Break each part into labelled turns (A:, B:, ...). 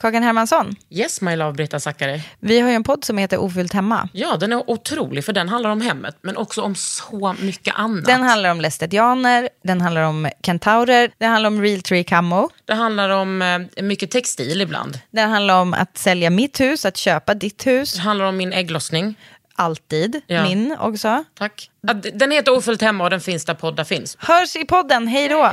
A: Kakan Hermansson,
B: Yes my love Britta Zackari.
A: vi har ju en podd som heter Ofyllt hemma.
B: Ja, den är otrolig för den handlar om hemmet men också om så mycket annat.
A: Den handlar om lästetianer, den handlar om kentaurer, den handlar om real tree camo,
B: det handlar om eh, mycket textil ibland.
A: den handlar om att sälja mitt hus, att köpa ditt hus,
B: Det handlar om min ägglossning.
A: alltid,
B: Ja.
A: min också.
B: Tack. Ja, d- Den heter Ofullt hemma och den finns där poddar finns.
A: Hörs i podden, hej då!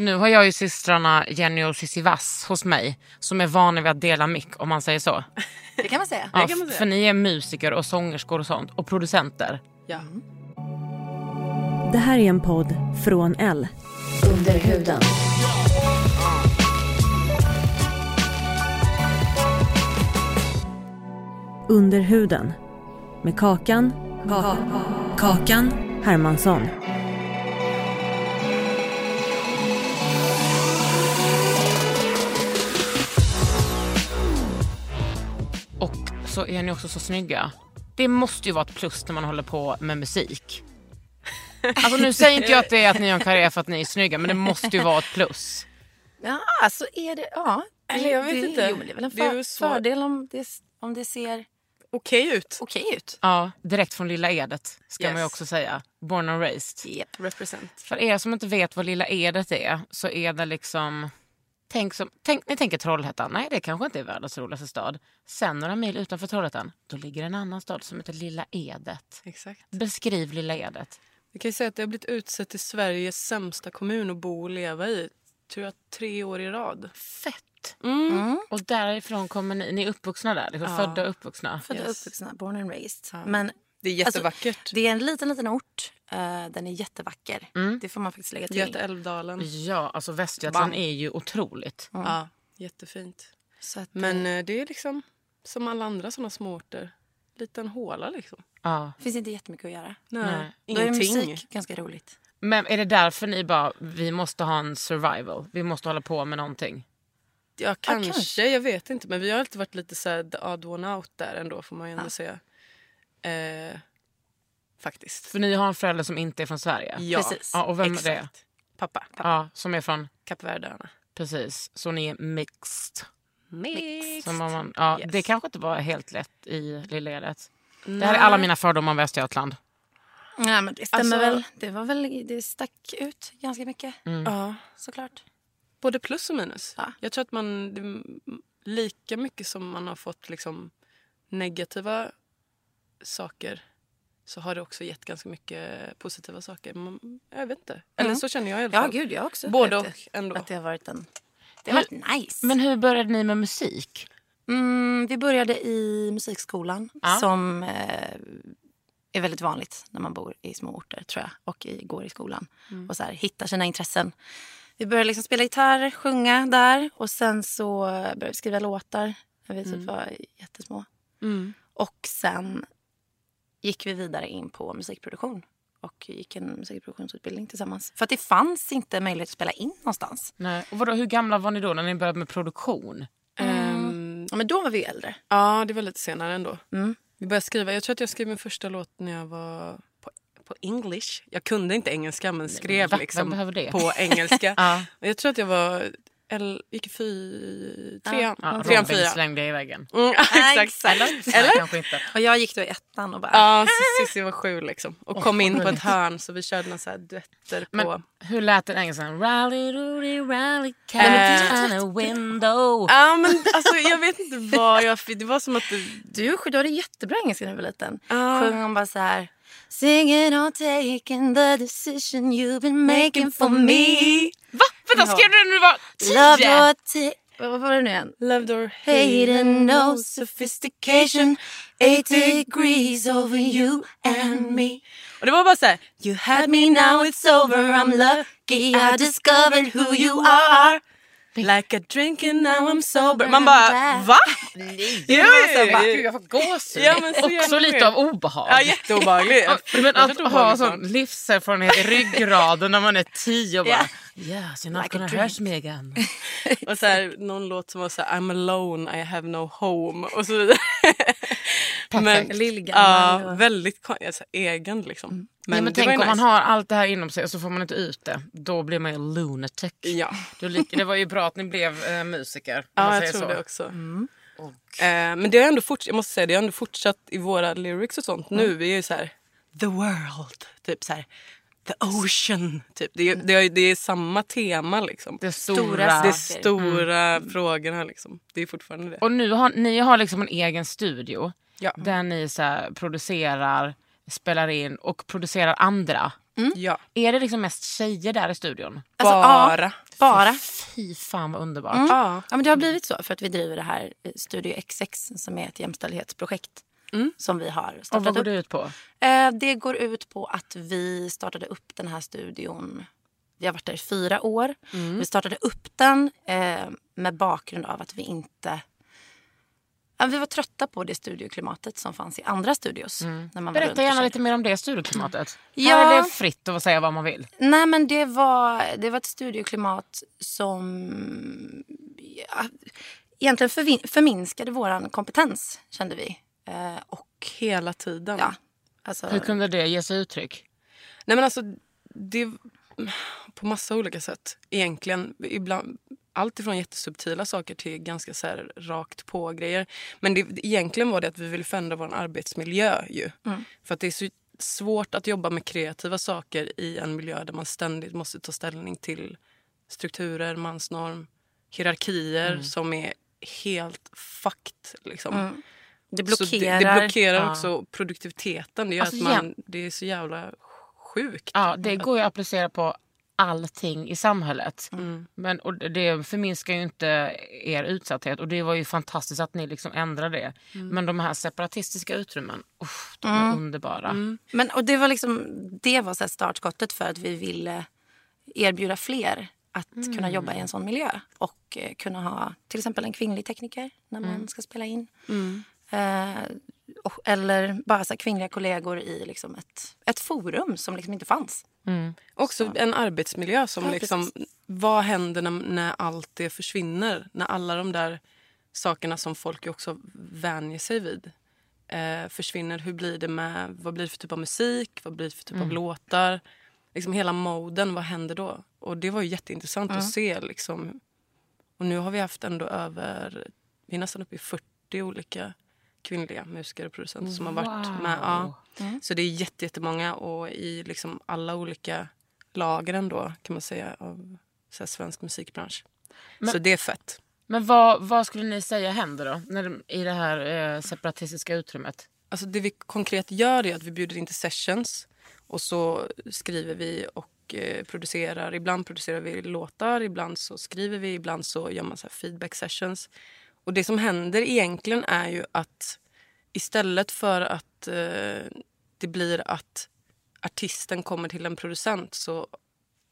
B: Nu har jag ju systrarna Jenny och Cissi Vass hos mig som är vana vid att dela mick om man säger så.
C: Det kan man säga.
B: Ja, f- för ni är musiker och sångerskor och sånt och producenter.
C: Ja.
D: Det här är en podd från L.
E: Under huden.
D: Under huden. Med Kakan. Ka- kakan Hermansson.
B: Och så är ni också så snygga. Det måste ju vara ett plus när man håller på med musik. Alltså nu säger inte jag att det är att ni har en karriär för att ni är snygga men det måste ju vara ett plus.
C: ja, så är det. Ja. Det,
F: Eller jag vet
C: det,
F: inte.
C: Jo, men det är väl en
F: Det är
C: för,
F: ju så-
C: fördel om det, om det ser
F: Okej ut.
C: okej ut.
B: Ja, direkt från Lilla Edet ska man ju
F: Yes.
B: också säga. Born and raised.
C: Yep.
F: Represent.
B: För er som inte vet vad Lilla Edet är så är det liksom... Tänk som, tänk, ni tänker Trollhättan. Nej, det kanske inte är världens roligaste stad. Sen några mil utanför Trollhättan, då ligger en annan stad som heter Lilla Edet.
F: Exakt.
B: Beskriv Lilla Edet.
F: Jag kan ju säga att det har blivit utsett till Sveriges sämsta kommun att bo och leva i. Tror jag tre år i rad.
B: Fett! Och därifrån kommer ni. Ni är uppvuxna där? Liksom Födda och uppvuxna?
C: Födda och
F: Yes.
C: uppvuxna, born and raised. Men
F: Det är
C: alltså,
F: jättevackert.
C: det är en liten, liten ort. Eh, den är jättevacker.
B: Mm.
C: Det får man faktiskt lägga till.
F: Götaälvdalen.
B: Ja, alltså Västgötland är ju otroligt.
F: Ja, jättefint.
C: Så att,
F: Men eh, det är liksom som alla andra såna småorter. Liten håla liksom.
B: Ja.
C: det finns inte jättemycket att göra.
F: Nej,
B: Nej.
C: Då är
F: ingenting.
C: musik ganska roligt.
B: Men är det därför ni bara, vi måste ha en survival? Vi måste hålla på med någonting?
F: Ja, kanske.
C: kanske.
F: Jag vet inte. Men vi har alltid varit lite så här, the odd one out där ändå får man ju ändå säga. Eh, faktiskt.
B: För ni har en förälder som inte är från Sverige?
F: Ja,
C: Precis.
B: Ja, och vem är det?
F: exakt. Pappa. Pappa.
B: Ja, som är från?
F: Kap Verdeöarna.
B: Precis, så ni är mixed.
F: Mixed.
B: Som om man, ja,
F: Yes.
B: Det kanske inte var helt lätt i Lilla Edet. Det här är alla mina fördomar om Västergötland.
C: Nej, men det stämmer
F: Alltså-
C: väl. Det, var väl. det stack ut ganska mycket
B: Mm.
F: Ja.
C: såklart.
F: Både plus och minus.
C: Ja.
F: Jag tror att man... det är Lika mycket som man har fått liksom negativa saker så har det också gett ganska mycket positiva saker. Man, jag vet inte. Eller så känner jag i alla
C: Ja,
F: fall.
C: gud, jag har också
F: Både
C: upplevt
F: och ändå.
C: Att det har varit en... Det har varit nice.
B: Men hur började ni med musik?
C: Mm, vi började i musikskolan som eh, är väldigt vanligt när man bor i små orter tror jag och i, går i skolan och så här, hittar sina intressen. Vi började liksom spela gitarr, sjunga där och sen så började vi skriva låtar när vi typ var jättesmå. Mm. Och sen gick vi vidare in på musikproduktion och gick en musikproduktionsutbildning tillsammans. För att det fanns inte möjlighet att spela in någonstans.
B: Nej. Och vadå, hur gamla var ni då när ni började med produktion?
F: Ehm,
C: Ja, men då var vi ju äldre.
F: ja, det var lite senare ändå.
C: Mm.
F: Vi började skriva. Jag tror att jag skrev min första låt när jag var på, på English. Jag kunde inte engelska men skrev
B: va? Vem
F: liksom
B: behöver det?
F: på engelska.
B: Ja.
F: Och Jag tror att jag var... El, gick i fy, trean,
B: Ja,
F: trean,
B: Robin
F: fyra.
B: slängde er i väggen.
F: Mm, exakt.
B: Eller? Kanske inte.
C: Och jag gick då i ettan och bara...
F: Ja, så Cissi var sju liksom. Och kom in på ett hörn så vi körde några så här duetter på...
B: Men hur lät den engelskan? Rally, rally, rally,
F: Nej, men det-
B: cat on a window.
F: Ja men alltså jag vet inte vad jag fick. Det var som att det...
C: Du, du hade jättebra engelska när du var liten.
F: Ja.
C: Sjöng hon bara så här... Singing or taking the decision you've been making for me
B: Va? Vänta, skrev du den när du var
C: Love
B: tio?
C: your t- Vad var det nu igen?
F: Loved or
C: Hate
F: hated,
C: and no sophistication Eight degrees over you and me
F: Och det var bara så här,
C: You had me now it's over I'm lucky I discovered who you are
F: like a drink and now I'm sober. Man
C: I'm
F: bara,
C: back.
F: va? Jo,
B: Jag bara, Gud,
F: jo,
B: jag får gåshud.
F: typ- Ja, men så
B: Också
F: jävla
B: lite
F: weird.
B: av obehag.
F: Ja, jätteobehaglig.
B: Ja, men att
F: tror
B: ha
F: obehagligt
B: sån livserfarenhet i ryggraden när man är tio och bara
C: Ja.
B: Yes, you're not
C: Like a
B: gonna
C: drink."
B: hurt me again.
F: Och så här, någon låt som var så här, I'm alone, I have no home och så vidare. men,
C: Lillgammal
F: ja,
C: och-
F: väldigt kon- alltså, egen liksom.
B: Men, Mm. ja, men
F: det var
B: tänk
F: ju
B: om man
F: nice.
B: har allt det här inom sig och så får man inte ut det. Då blir man ju lunatic.
F: Ja,
B: Då lik- det var ju bra att ni blev eh, musiker. om man
F: ja jag
B: säger
F: tror
B: så. Mm.
F: det också. Eh, men det har ändå fortsatt, jag måste säga, det har ändå fortsatt i våra lyrics och sånt. Nu
B: Mm.
F: vi är ju så här, the world, typ så här, the ocean. Typ. Det, är- det, är- det är samma tema liksom.
B: Mm. Det stora.
C: Stora
F: Det är
C: saker.
F: stora frågorna liksom. Det är fortfarande det.
B: Och nu har ni har liksom en egen studio
F: Ja.
B: där ni så här, producerar, spelar in och producerar andra.
F: ja.
B: Är det liksom mest tjejer där i studion?
C: Alltså, ja.
F: Bara.
C: Bara.
B: Fy fan vad underbart.
C: Mm.
F: Ja.
C: Ja, men det har blivit så för att vi driver det här eh, Studio XX som är ett jämställdhetsprojekt som vi har
B: Mm. Och vad
C: startat
B: går
C: upp.
B: det ut på?
C: Eh, Det går ut på att vi startade upp den här studion. Vi har varit där i fyra år.
B: Mm.
C: Vi startade upp den eh, med bakgrund av att vi inte... Ja, vi var trötta på det studioklimatet som fanns i andra studios. När man var runt
B: Mm. Berätta
C: och
B: gärna
C: körde.
B: lite mer om det studioklimatet.
C: Ja.
B: Här är det fritt att säga vad man vill.
C: Nej, men det var, det var ett studioklimat som ja, egentligen förvin- förminskade vår kompetens, kände vi. Eh, och
F: Hela tiden.
C: ja, alltså,
B: Hur kunde det ges uttryck?
F: Nej men alltså, det på massa olika sätt. Egentligen ibland, allt ifrån jättesubtila saker till ganska så här rakt på grejer. Men det, egentligen var det att vi ville förändra vår arbetsmiljö ju.
B: Mm.
F: För att det är så svårt att jobba med kreativa saker i en miljö där man ständigt måste ta ställning till strukturer, mansnorm, hierarkier
B: Mm.
F: som är helt fucked liksom.
C: det
F: Så
C: blockerar.
F: Det, det blockerar också produktiviteten. Det gör
B: Alltså,
F: att man, det är så jävla sjukt.
B: Ja, det går ju att applicera på allting i samhället.
C: Mm.
B: Men, och det förminskar ju inte er utsatthet och det var ju fantastiskt att ni liksom ändrade det.
C: Mm.
B: Men de här separatistiska utrymmen, uff, de är underbara.
C: Men, och det var, liksom, det var så här startskottet för att vi ville erbjuda fler att kunna jobba i en sån miljö och eh, kunna ha till exempel en kvinnlig tekniker när man ska spela in. Eh, och, eller bara så här, kvinnliga kollegor i liksom ett, ett forum som liksom inte fanns.
F: Också en arbetsmiljö som
C: Ja,
F: liksom... Vad händer när, när allt det försvinner? När alla de där sakerna som folk ju också vänjer sig vid eh, försvinner. Hur blir det med... Vad blir det för typ av musik? Vad blir det för typ av låtar? Liksom hela moden, vad händer då? Och det var ju jätteintressant att se liksom. Och nu har vi haft ändå över... Vi är nästan uppe i 40 olika kvinnliga musiker och producenter som har varit med. Ja. Så det är jätte, jättemånga och i liksom alla olika lager ändå kan man säga av så här, svensk musikbransch. så det är fett.
B: Men vad, vad skulle ni säga händer då när, de- i det här eh, separatistiska utrymmet?
F: Alltså det vi konkret gör är att vi bjuder in till sessions och så skriver vi och eh, producerar. Ibland producerar vi låtar, ibland så skriver vi, ibland så gör man så här feedback sessions. Och det som händer egentligen är ju att istället för att eh, det blir att artisten kommer till en producent så,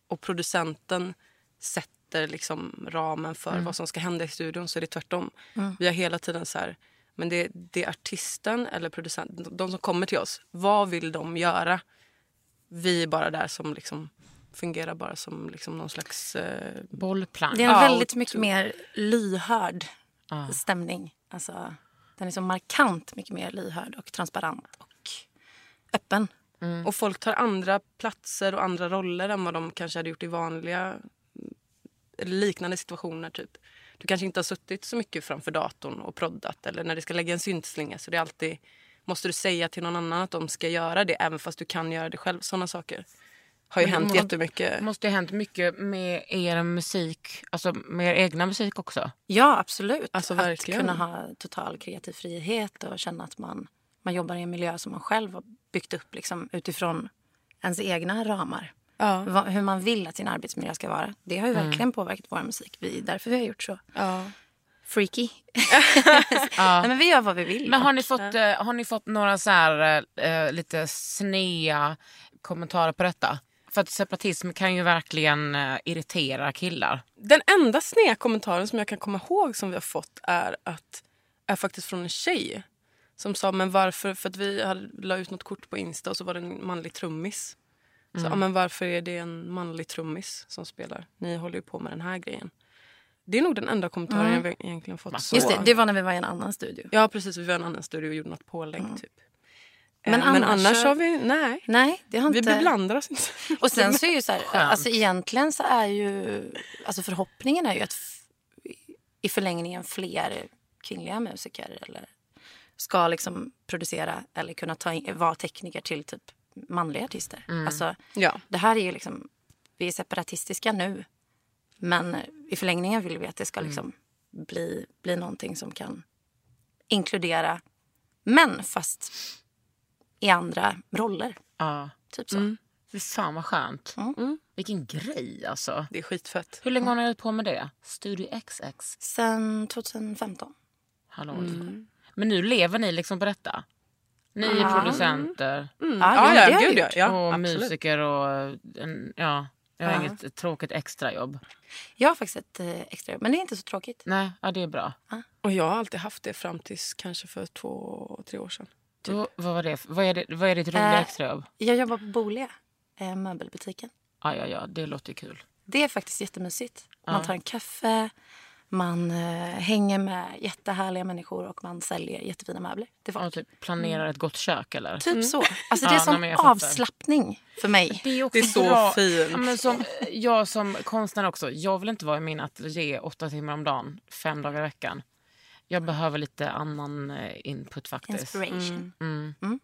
F: och producenten sätter liksom ramen för vad som ska hända i studion så är det tvärtom. Vi har hela tiden så här, men det, det är artisten eller producenten, de som kommer till oss, vad vill de göra? Vi är bara där som liksom fungerar bara som liksom någon slags... Eh,
B: Bollplank.
C: Det är en
F: Ja,
C: väldigt
F: och-
C: mycket mer lyhörd stämning. Alltså, den är så markant mycket mer lyhörd och transparent och öppen.
F: Och folk tar andra platser och andra roller än vad de kanske hade gjort i vanliga eller liknande situationer. Typ. Du kanske inte har suttit så mycket framför datorn och proddat eller när du ska lägga en syntslinga så det är alltid måste du säga till någon annan att de ska göra det även fast du kan göra det själv. Sådana saker har ju
B: Men
F: hänt
B: må-
F: jättemycket.
B: Det måste ju ha hänt mycket med er musik, alltså med er egna musik också.
C: Ja, absolut.
F: Alltså,
C: att
F: verkligen.
C: kunna ha total kreativ frihet och känna att man, man jobbar i en miljö som man själv har byggt upp liksom, utifrån ens egna ramar.
F: Ja. Mm.
C: Va- hur man vill att sin arbetsmiljö ska vara. Det har ju verkligen påverkat vår musik. Vi, därför vi har gjort så.
F: ja.
C: Freaky. Nej, men vi gör vad vi vill.
B: Men har ni fått, eh, har ni fått några så här, eh, lite snea kommentarer på detta? För att separatism kan ju verkligen eh, irritera killar.
F: Den enda sneda kommentaren som jag kan komma ihåg som vi har fått är att är faktiskt från en tjej som sa men varför, för att vi hade, la ut något kort på Insta och så var det en manlig trummis. Så,
C: Mm.
F: ja, men varför är det en manlig trummis som spelar? Ni håller ju på med den här grejen. Det är nog den enda kommentaren jag ve- egentligen fått. Så.
C: Mm. Just det, det var när vi var i en annan studio.
F: Ja precis, vi var i en annan studio och gjorde något pålägg typ. Eh,
C: Mm. Men
F: Men annars,
C: annars så-
F: har vi, nej.
C: Nej, det har
F: Vi
C: inte...
F: beblandar oss inte.
C: Och sen så är ju så här, alltså egentligen så är ju, alltså förhoppningen är ju att f- i förlängningen fler kvinnliga musiker eller ska liksom producera eller kunna ta in, vara tekniker till typ manliga artister. Alltså,
F: Ja.
C: det här är ju liksom, vi är separatistiska nu men i förlängningen vill vi att det ska liksom bli, bli någonting som kan inkludera män fast i andra roller.
B: Ja.
C: Typ så.
B: Fy fan vad skönt.
C: Mm.
B: Vilken grej alltså.
F: Det är skitfett.
B: Hur länge har ni hållit på med det? Studio XX.
C: Sen 2015.
B: Hallå.
F: Mm.
B: Men nu lever ni liksom på detta? Ni är producenter
C: Ja,
B: Ah,
F: Ja,
C: men
F: ja,
C: det har vi
F: gud ja.
C: gjort. Mm.
F: ja
B: och
F: absolut.
B: musiker och eh, en, ja, jag har
C: Ja.
B: inget tråkigt extrajobb.
C: Jag har faktiskt ett eh, extrajobb, men det är inte så tråkigt.
B: Nej, ja, det är bra.
F: Och jag har alltid haft det fram tills kanske för två, tre år sedan.
B: Då, vad, var det? för- vad, är det, vad är ditt roliga
C: Eh.
B: extrajobb?
C: Jag jobbar på Bolia, eh, möbelbutiken.
B: Ja, ja, ja, det låter ju kul.
C: Det är faktiskt jättemysigt. Man tar en kaffe, man eh, hänger med jättehärliga människor och man säljer jättefina möbler till folk.
B: Ja, typ planera ett gott kök eller?
C: Typ så. Alltså, det är
B: Ja,
C: sån
B: nej, men jag fattar.
C: avslappning för mig.
B: Det är, också
F: Det är så
B: bra.
F: fint.
B: Ja, men som, jag som konstnär också, jag vill inte vara i min ateljé åtta timmar om dagen, fem dagar i veckan. Jag behöver lite annan eh, input faktiskt.
C: Inspiration.
B: Mm.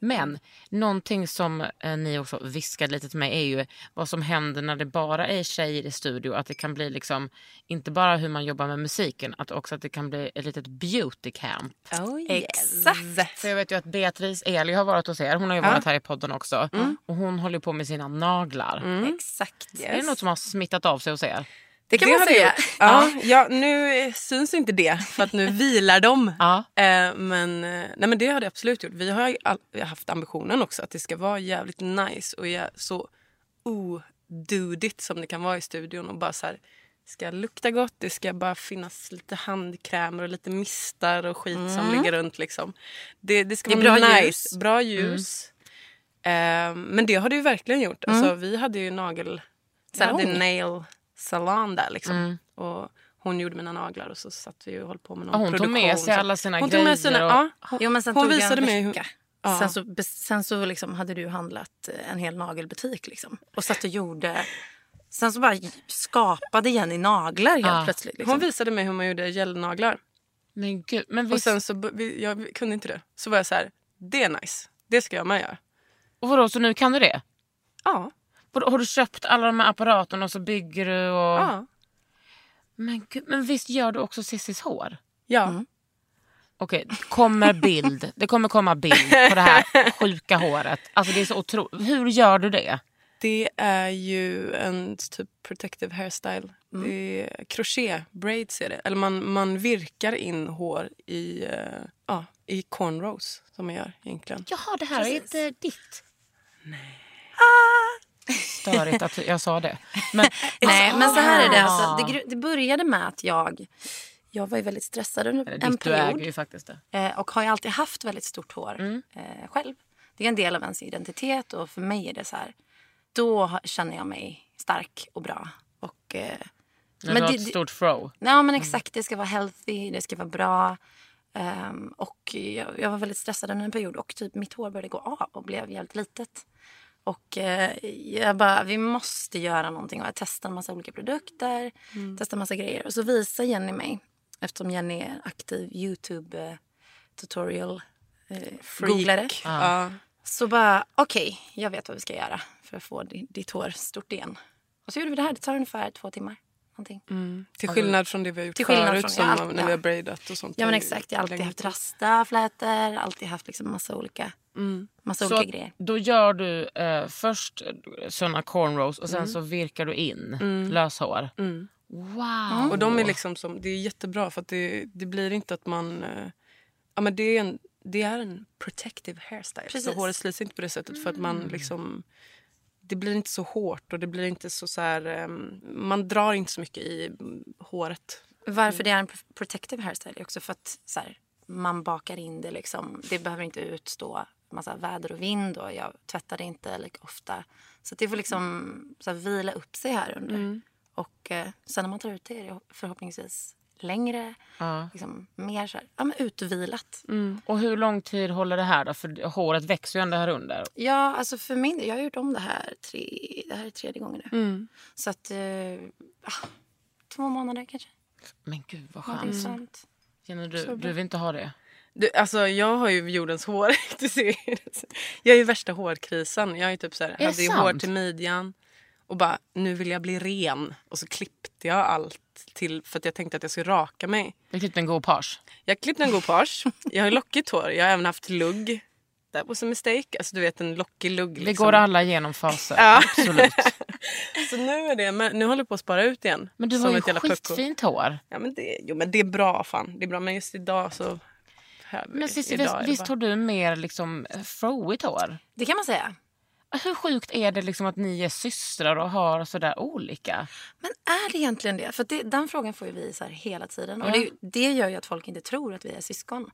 B: Men någonting som eh, ni också viskade lite till mig är ju vad som händer när det bara är tjejer i studio. Att det kan bli liksom, inte bara hur man jobbar med musiken, att också att det kan bli ett litet beauty camp.
C: Oh, Exakt.
B: För jag vet ju att Beatrice Eli har varit hos er, hon har ju varit här i podden också. Och hon håller ju på med sina naglar.
C: Mm. Exakt.
B: Är Mm. det något som har smittat av sig hos er?
C: Det kan man
F: har det
C: säga.
F: gjort. Ja, ja, nu eh, syns inte det för att nu vilar de.
B: Ja.
F: Eh, men, eh, nej, men det har det absolut gjort. Vi har ju all, vi har haft ambitionen också att det ska vara jävligt nice och jä- så odudigt som det kan vara i studion. Och bara så här, det ska lukta gott, det ska bara finnas lite handkrämer och lite mistar och skit som ligger runt. Liksom. Det, det ska
C: Mm. Det
F: vara
C: är bra
F: nice.
C: ljus. Mm.
F: Bra ljus. Eh, men det har det ju verkligen gjort. Alltså, vi hade ju nagel... Vi hade
C: Salong.
F: nail salon där. Liksom.
C: Mm.
F: Och hon gjorde mina naglar och så satt vi och höll på med någon
B: Ja, Ah, hon tog
F: produktion.
B: med sig
F: så-
B: alla sina
F: hon tog med
B: grejer
F: sina,
B: och-
F: ja, hon,
C: Jo, men sen
F: hon
C: tog jag
F: visade
C: en
F: mig hur...
C: vecka.
F: Ja.
C: Sen så, bes- sen så liksom hade du handlat eh, en hel nagelbutik liksom, och satt och gjorde... Sen så bara j- skapade Jenny naglar helt
B: Ja.
C: plötsligt. Liksom.
F: Hon visade mig hur man gjorde gelnaglar.
B: Men gud, men
F: Och
B: visst.
F: sen så, b- vi- jag kunde inte det. Så var jag så här, det är nice. Det ska jag med göra.
B: Och vadå, så nu kan du det?
F: Ja.
B: Vadå, Har du köpt alla de här apparaterna och så bygger du och...
F: Ja.
B: Men, gud, men visst gör du också Cissis hår?
F: ja.
C: Mm.
B: Okej, kommer bild. Det kommer komma bild på det här sjuka håret. Alltså det är så otroligt. Hur gör du det?
F: Det är ju en typ protective hairstyle.
C: Mm.
F: Det är crochet, braids är det. Eller man, man virkar in hår i, eh, ja, i cornrows som man gör egentligen.
B: Jaha, det här är inte ditt. Nej. Störigt att jag sa det. Men,
C: Nej, men så här är det. Alltså, det, gru- det började med att jag... Jag var ju väldigt stressad under
B: Eller
C: en
B: ditt, du äger
C: period
B: ju faktiskt det.
C: eh, och har ju alltid haft väldigt stort hår
B: Mm.
C: eh, själv. Det är en del av ens identitet och för mig är det så här... Då har- känner jag mig stark och bra. Och, eh,
B: Men du har ett
C: det-
B: stort fro.
C: Ja, men exakt. Det ska vara healthy, det ska vara bra. Ehm, och jag, jag var väldigt stressad under en period och typ mitt hår började gå av och blev jävligt litet. Och eh, jag bara, vi måste göra någonting. Och jag testade en massa olika produkter, testade en massa grejer. Och så visar Jenny mig, eftersom Jenny är en aktiv YouTube-tutorial-googlare.
B: Ah.
F: Ja.
C: Så bara, okej, jag vet vad vi ska göra för att få di- ditt hår stort igen. Och så gjorde vi det här. Det tar ungefär två timmar. någonting.
F: Mm. Till skillnad från det vi har gjort
C: Alltså, Till skillnad
F: förut
C: från-
F: som
C: ja,
F: när
C: ja.
F: vi har braidat och sånt.
C: Ja men
B: Typ
F: Det är
C: exakt, jag har alltid
F: länge.
C: haft rastaflätor, alltid haft liksom massa olika, massa
B: Mm. Så
C: olika grejer.
B: då gör du eh, först såna cornrows och sen
F: Mm.
B: så virkar du in löshår. Wow!
F: Och de är liksom som, det är jättebra för att det, det blir inte att man... eh, Ja, men det, är en, det är en protective hairstyle. Så
C: Precis. Mm.
F: håret slits inte på det sättet för att man liksom... Det blir inte så hårt och det blir inte så, så här... ehm, Man drar inte så mycket i mm, håret.
B: Mm.
C: Varför det är en protective hairstyle är också för att så här, man bakar in det liksom. Det behöver inte utstå massa väder och vind och jag tvättar det inte lika ofta. Så att det får liksom så här, vila upp sig här under.
B: Mm.
C: Och eh, sen när man tar ut det är det förhoppningsvis längre,
B: Ja.
C: liksom, mer så här, ja, men utvilat.
B: Och hur lång tid håller det här då? För håret växer ju ändå här under.
C: Ja, alltså för min del, jag har gjort om det här tre, det här är tredje gången nu.
F: Mm.
C: Så att, eh, ah, två månader kanske.
B: Men gud vad
C: Någonting
B: skönt.
C: sånt.
B: Jenny, du, du vill inte ha det?
F: Du, alltså, jag har ju jordens hår. Du ser. jag är ju värsta hårkrisen. Jag är ju typ så här,
B: det
F: hade ju
B: sant?
F: hår till midjan och bara nu vill jag bli ren. Och så klippte jag allt till för att jag tänkte att jag skulle raka mig.
B: Det är typ en god page.
F: Jag klippte en god page. Jag har lockigt hår. Jag har även haft lugg. That was a mistake. Alltså du vet en lockig lugg.
B: Vi
F: Liksom.
B: går alla igenom faser.
F: Ja.
B: Absolut.
F: Så nu är det, men nu håller jag på att spara ut igen.
B: Men du
F: Som
B: har ju
F: ett jävla pucko.
B: skitfint hår.
F: Ja men det, jo men det är bra fan. Det är bra men just idag så. Här,
B: Men Cissi,
F: idag
B: visst,
F: är det
B: visst
F: bara-
B: har du mer liksom froigt hår?
C: Det kan man säga.
B: Hur sjukt är det liksom att ni är systrar och har sådär olika?
C: Men är det egentligen det? För det, den frågan får ju vi så här hela tiden. Och det, det gör ju att folk inte tror att vi är syskon.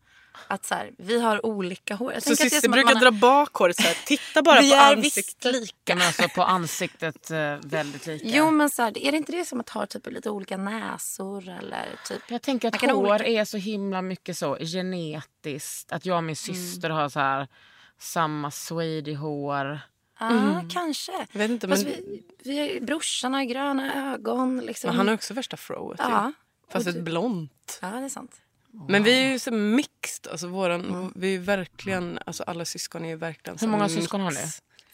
C: Att så här, vi har olika hår. Jag
F: Så
C: tänker att det är
F: syster
C: som att
F: brukar
C: man
F: dra
C: har-
F: bak håret så här. Titta bara
C: Vi
F: på
C: är
F: ansiktet.
C: visst lika.
B: Ja, men alltså på ansiktet eh, väldigt lika.
C: Jo men så här, är det inte det som att ha typ lite olika näsor eller typ?
B: Jag tänker att
C: Man kan ha
B: hår
C: olika-
B: är så himla mycket så genetiskt. Att jag och min syster har så här samma swedish-hår.
C: Ja, kanske.
F: Mm. Jag vet inte,
C: Fast
F: men-
C: vi, vi är, brorsan har gröna ögon. Liksom.
F: Men han har också värsta frået ju.
C: Ja.
F: Fast ett blont.
C: ja, det är sant.
B: Mm.
F: Men vi är ju så mixed. Alltså våran,
C: Mm.
F: vi är ju verkligen, alltså alla syskon är ju verkligen
B: Hur
F: så
B: många
F: mix.
B: syskon har ni?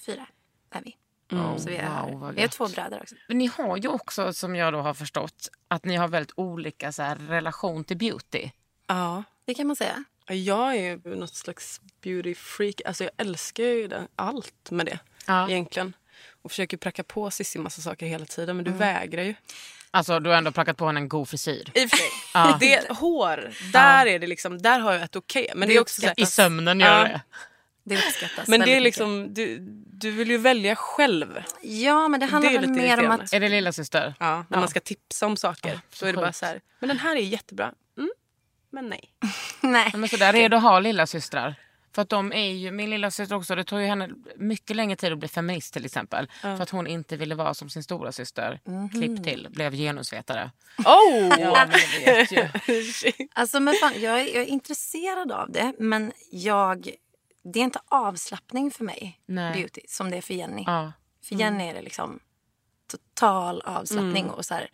C: Fyra är vi.
F: Mm.
C: så vi är,
B: wow, vad
C: vi är
B: gött.
C: två bröder också.
B: Men ni har ju också, som jag då har förstått, att ni har väldigt olika så här, relation till beauty.
F: Ja.
C: Det kan man säga.
F: Jag är ju något slags beauty freak. Alltså jag älskar ju det, allt med det
B: Ja.
F: egentligen. Och försöker pracka på Cissi massa saker hela tiden men du
C: Mm.
F: vägrar ju.
B: Alltså, du har ändå plockat på henne en god frisyr.
F: I och för sig. det, hår, där är det liksom, där har jag ett okej. Men det är också så här-
B: I sömnen gör
F: Ja.
B: det.
C: Det uppskattas
F: Men det är
C: väldigt
F: liksom, du, du vill ju välja själv.
C: mycket. Ja, men det handlar
F: Det är
C: väl
F: lite
C: mer om
F: irriterande.
C: att...
B: Är det lilla syster?
F: Ja, när man ska tipsa om saker. så är det bara
B: sjukt.
F: så här, men den här är jättebra. Mm, men nej.
C: Nej.
B: Ja, Men så där är det att ha lilla systrar. För att de är ju, min lilla syster också, det tog ju henne mycket längre tid att bli feminist till exempel. För att hon inte ville vara som sin stora syster. Klipp till, blev genusvetare.
F: Oh!
C: Alltså, men fan, jag, är, jag är intresserad av det, men jag, det är inte avslappning för mig,
B: Nej.
C: beauty, som det är för Jenny.
B: Ja.
C: För Jenny är det liksom total avslappning.
F: Mm.
C: Och så här,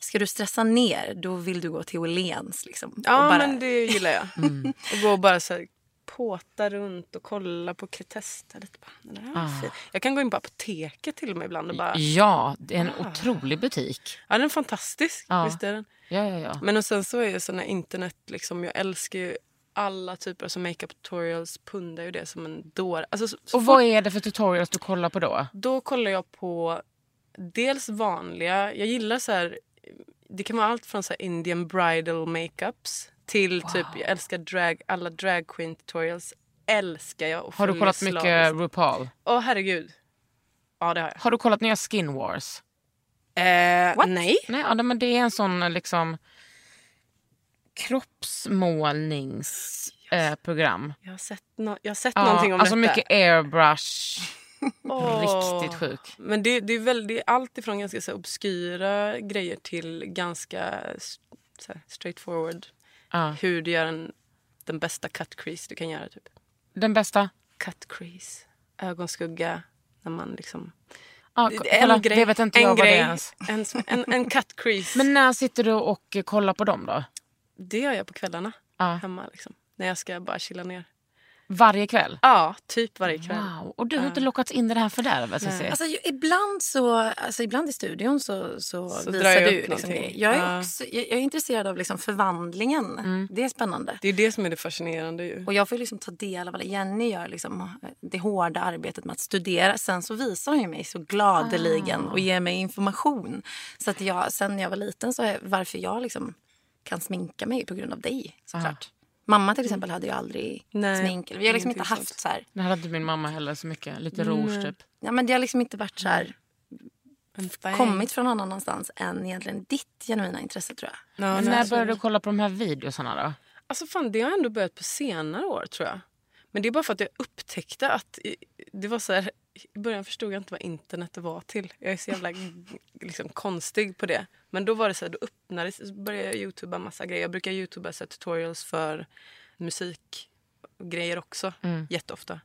C: ska du stressa ner, då vill du gå till Åhléns. Liksom,
F: Ja,
C: och bara,
F: men det gillar jag.
B: Mm.
F: Och gå och bara så här, påta runt och kolla på kretester. Lite bara, den här var fin. Jag kan gå in på apoteket till och med ibland och bara,
B: ja, det är en otrolig butik.
F: ja den är fantastisk.
B: Ja.
F: Visst är den.
B: Ja, ja, ja.
F: Men och sen så är ju såna internet, liksom, jag älskar ju alla typer av alltså makeup tutorials, pundar ju det som en dåre. Alltså, så, så
B: Och vad är det för tutorials du kollar på då?
F: Då kollar jag på dels vanliga, jag gillar så här, det kan vara allt från så här Indian bridal makeups till typ, jag älskar drag, alla drag queen tutorials. Älskar jag och
B: Har du
F: följer
B: kollat mycket
F: slaviskt.
B: RuPaul?
F: Åh herregud. Ja det har jag.
B: Har du kollat nya Skin Wars?
F: Eh, nej.
B: Nej, ja, men det är en sån liksom kroppsmålningsprogram. Eh, program.
F: Jag har sett, nå jag har sett
B: Ja,
F: någonting om
B: alltså
F: detta.
B: mycket airbrush.
F: Åh.
B: Riktigt sjuk.
F: Men det, det, är väl, det är allt ifrån ganska så här, obskyra grejer till ganska s- så här, straightforward.
B: Ja.
F: Hur du gör en, den bästa cut crease du kan göra. Typ.
B: Den bästa.
F: Cut crease, ögonskugga. När man liksom...
B: Ja,
F: Det-
B: ko-
F: det är
B: kolla, Det vet inte jag
F: en
B: vad det
F: grej,
B: är ens.
F: En, som- en, en cut crease.
B: Men när sitter du och eh, kollar på dem då?
F: det gör jag på kvällarna
B: Ja.
F: hemma. Liksom, när jag ska bara chilla ner.
B: Varje kväll?
F: Ja, typ varje kväll.
B: Wow. Och du har inte lockats in i det här fördärvet? Cissi?
C: Alltså, ju- ibland, så, alltså, ibland i studion så, så,
F: Så drar
C: visar
F: jag
C: du
F: upp
C: liksom det.
F: någonting.
C: Jag är,
F: Ja. Mm.
C: också, jag, jag är intresserad av liksom förvandlingen. Det är spännande.
F: Det är det som är det fascinerande ju.
C: Och jag får ju liksom ta del av vad Jenny gör, liksom, det hårda arbetet med att studera. Sen så visar hon ju mig så gladeligen
F: Ah.
C: och ger mig information. Så att jag, sen när jag var liten så är varför jag liksom kan sminka mig på grund av dig såklart. Mamma till exempel hade ju aldrig
F: Ah. Nej,
C: smink. Vi har liksom inte
F: ingenting
C: haft så här.
B: Det hade inte min mamma heller så mycket. Lite
F: Mm.
B: rouge typ.
C: Ja, men det har liksom inte varit så här,
F: Nej.
C: kommit från någon annanstans än egentligen ditt genuina intresse tror jag.
F: Ja,
B: Men
F: nej.
B: när började du kolla på de här videosarna då?
F: Alltså fan, det har ändå börjat på senare år tror jag. Men det är bara för att jag upptäckte att i- det var så här, i början förstod jag inte vad internet var till. Jag är så jävla liksom, konstig på det. Men då var det så här, då öppnades, så började jag youtuba massa grejer. Jag brukar youtuba så här, tutorials för musikgrejer också, jätteofta.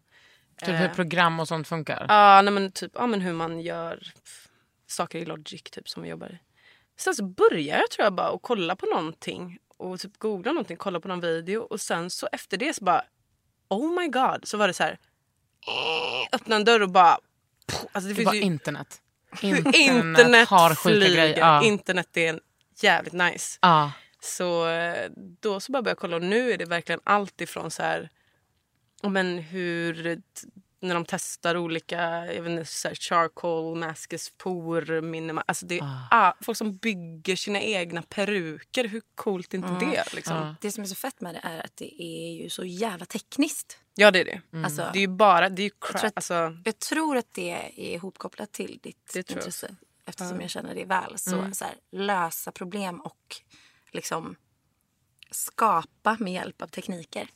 B: Typ hur program och sånt funkar?
F: Eh. Ja, nej, men typ ja, men hur man gör f- saker i Logic typ som vi jobbar i. Sen så började jag tror jag bara att kolla på någonting och typ googla någonting, kolla på någon video och sen så efter det så bara oh my god så var det så här eh, öppna en dörr och bara pff, alltså det
B: det
F: finns
B: var
F: ju
B: internet.
F: internet,
B: har sjuka
F: flyger.
B: grejer. Ja.
F: Internet är jävligt nice.
B: ja.
F: Så eh, då så bara började jag kolla och nu är det verkligen allt ifrån så här, ja, men hur t- när de testar olika jag vet inte, så här charcoal, maskes, por, minima. Alltså det är ah, folk som bygger sina egna peruker. Hur coolt är inte det? Liksom?
C: Det som är så fett med det är att det är ju så jävla tekniskt.
F: Ja, det är det.
C: Alltså,
F: Det är ju bara... Det är ju
C: Jag tror
F: crap.
C: att-
F: Alltså,
C: Jag tror att det är ihopkopplat till ditt
F: Det tror jag
C: intresse. Eftersom jag känner det väl. Så, så här, lösa problem och liksom skapa med hjälp av tekniker.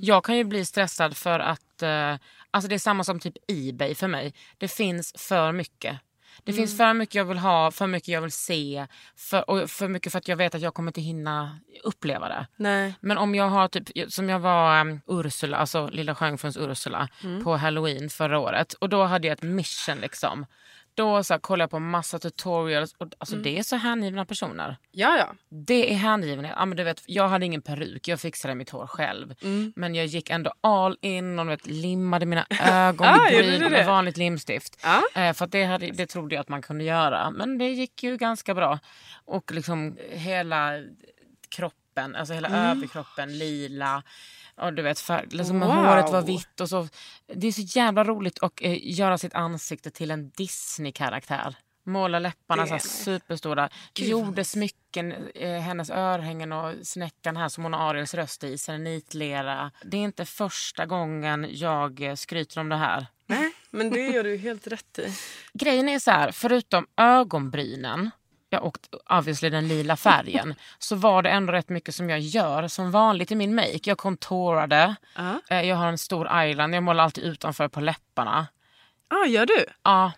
B: Jag kan ju bli stressad för att eh, alltså det är samma som typ Ebay för mig. Det finns för mycket. Det finns för mycket jag vill ha, för mycket jag vill se för, och för mycket för att jag vet att jag kommer inte hinna uppleva det.
F: nej.
B: Men om jag har typ, som jag var um, Ursula, alltså Lilla Sjöjungfruns Ursula på halloween förra året. Och då hade jag ett mission liksom. Då så här, kollade jag på massa tutorials och alltså det är så hängivna personer.
F: Ja, ja.
B: Det är hängivenhet. Ja, men du vet, jag hade ingen peruk, jag fixade mitt hår själv.
F: Mm.
B: Men jag gick ändå all in och du vet, limmade mina
F: Ah, gjorde
B: ögonbryn
F: du det?
B: med vanligt limstift.
F: Ja.
B: Eh, för att det, hade, det trodde jag att man kunde göra. Men det gick ju ganska bra. Och liksom hela kroppen, alltså
F: Mm.
B: hela överkroppen lila. Och du vet, färg, liksom
F: Wow.
B: håret var vitt. Och så. Det är så jävla roligt att eh, göra sitt ansikte till en Disney-karaktär. Måla läpparna
F: Det
B: så här
F: är nice.
B: superstora. Gjorde smycken, eh, hennes örhängen och snäckan här som hon har Ariels röst i, sen nitlera. Det är inte första gången jag eh, skryter om det här.
F: Men det gör du helt rätt i.
B: Grejen är så här, förutom ögonbrynen ja, och obviously den lila färgen så var det ändå rätt mycket som jag gör som vanligt i min make. Jag contourade,
F: Ja,
B: eh, jag har en stor eyeliner, jag målar alltid utanför på läpparna.
F: ah, gör du?
B: Ja,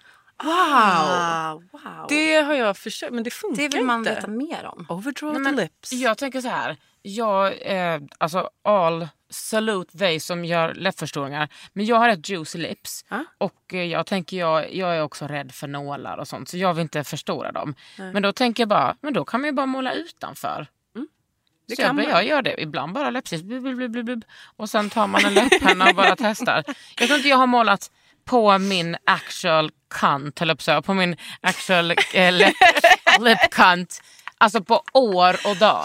F: Wow!
C: wow. Det,
F: Det har jag försökt, men det funkar
C: vill man
F: inte.
C: veta mer om.
F: Overdraw
B: Nej,
F: the
B: men
F: lips.
B: Jag tänker så här. Jag, eh, alltså all salute they som gör läppförstoringar. Men jag har rätt juicy lips.
F: Ja.
B: Och eh, jag tänker jag, jag är också rädd för nålar och sånt. Så jag vill inte förstora dem. Men då tänker jag bara, men då kan man ju bara måla utanför.
F: Det
B: så jag,
F: kan
B: bara-
F: man.
B: jag gör det. Ibland bara läppstift. Blub, blub, blub, blub, blub. Och sen tar man en läpppenna och bara testar. Jag tror inte jag har målat på min actual cunt, höll jag på att säga. På min actual eh, lip, lip cunt. Alltså på år och dagar.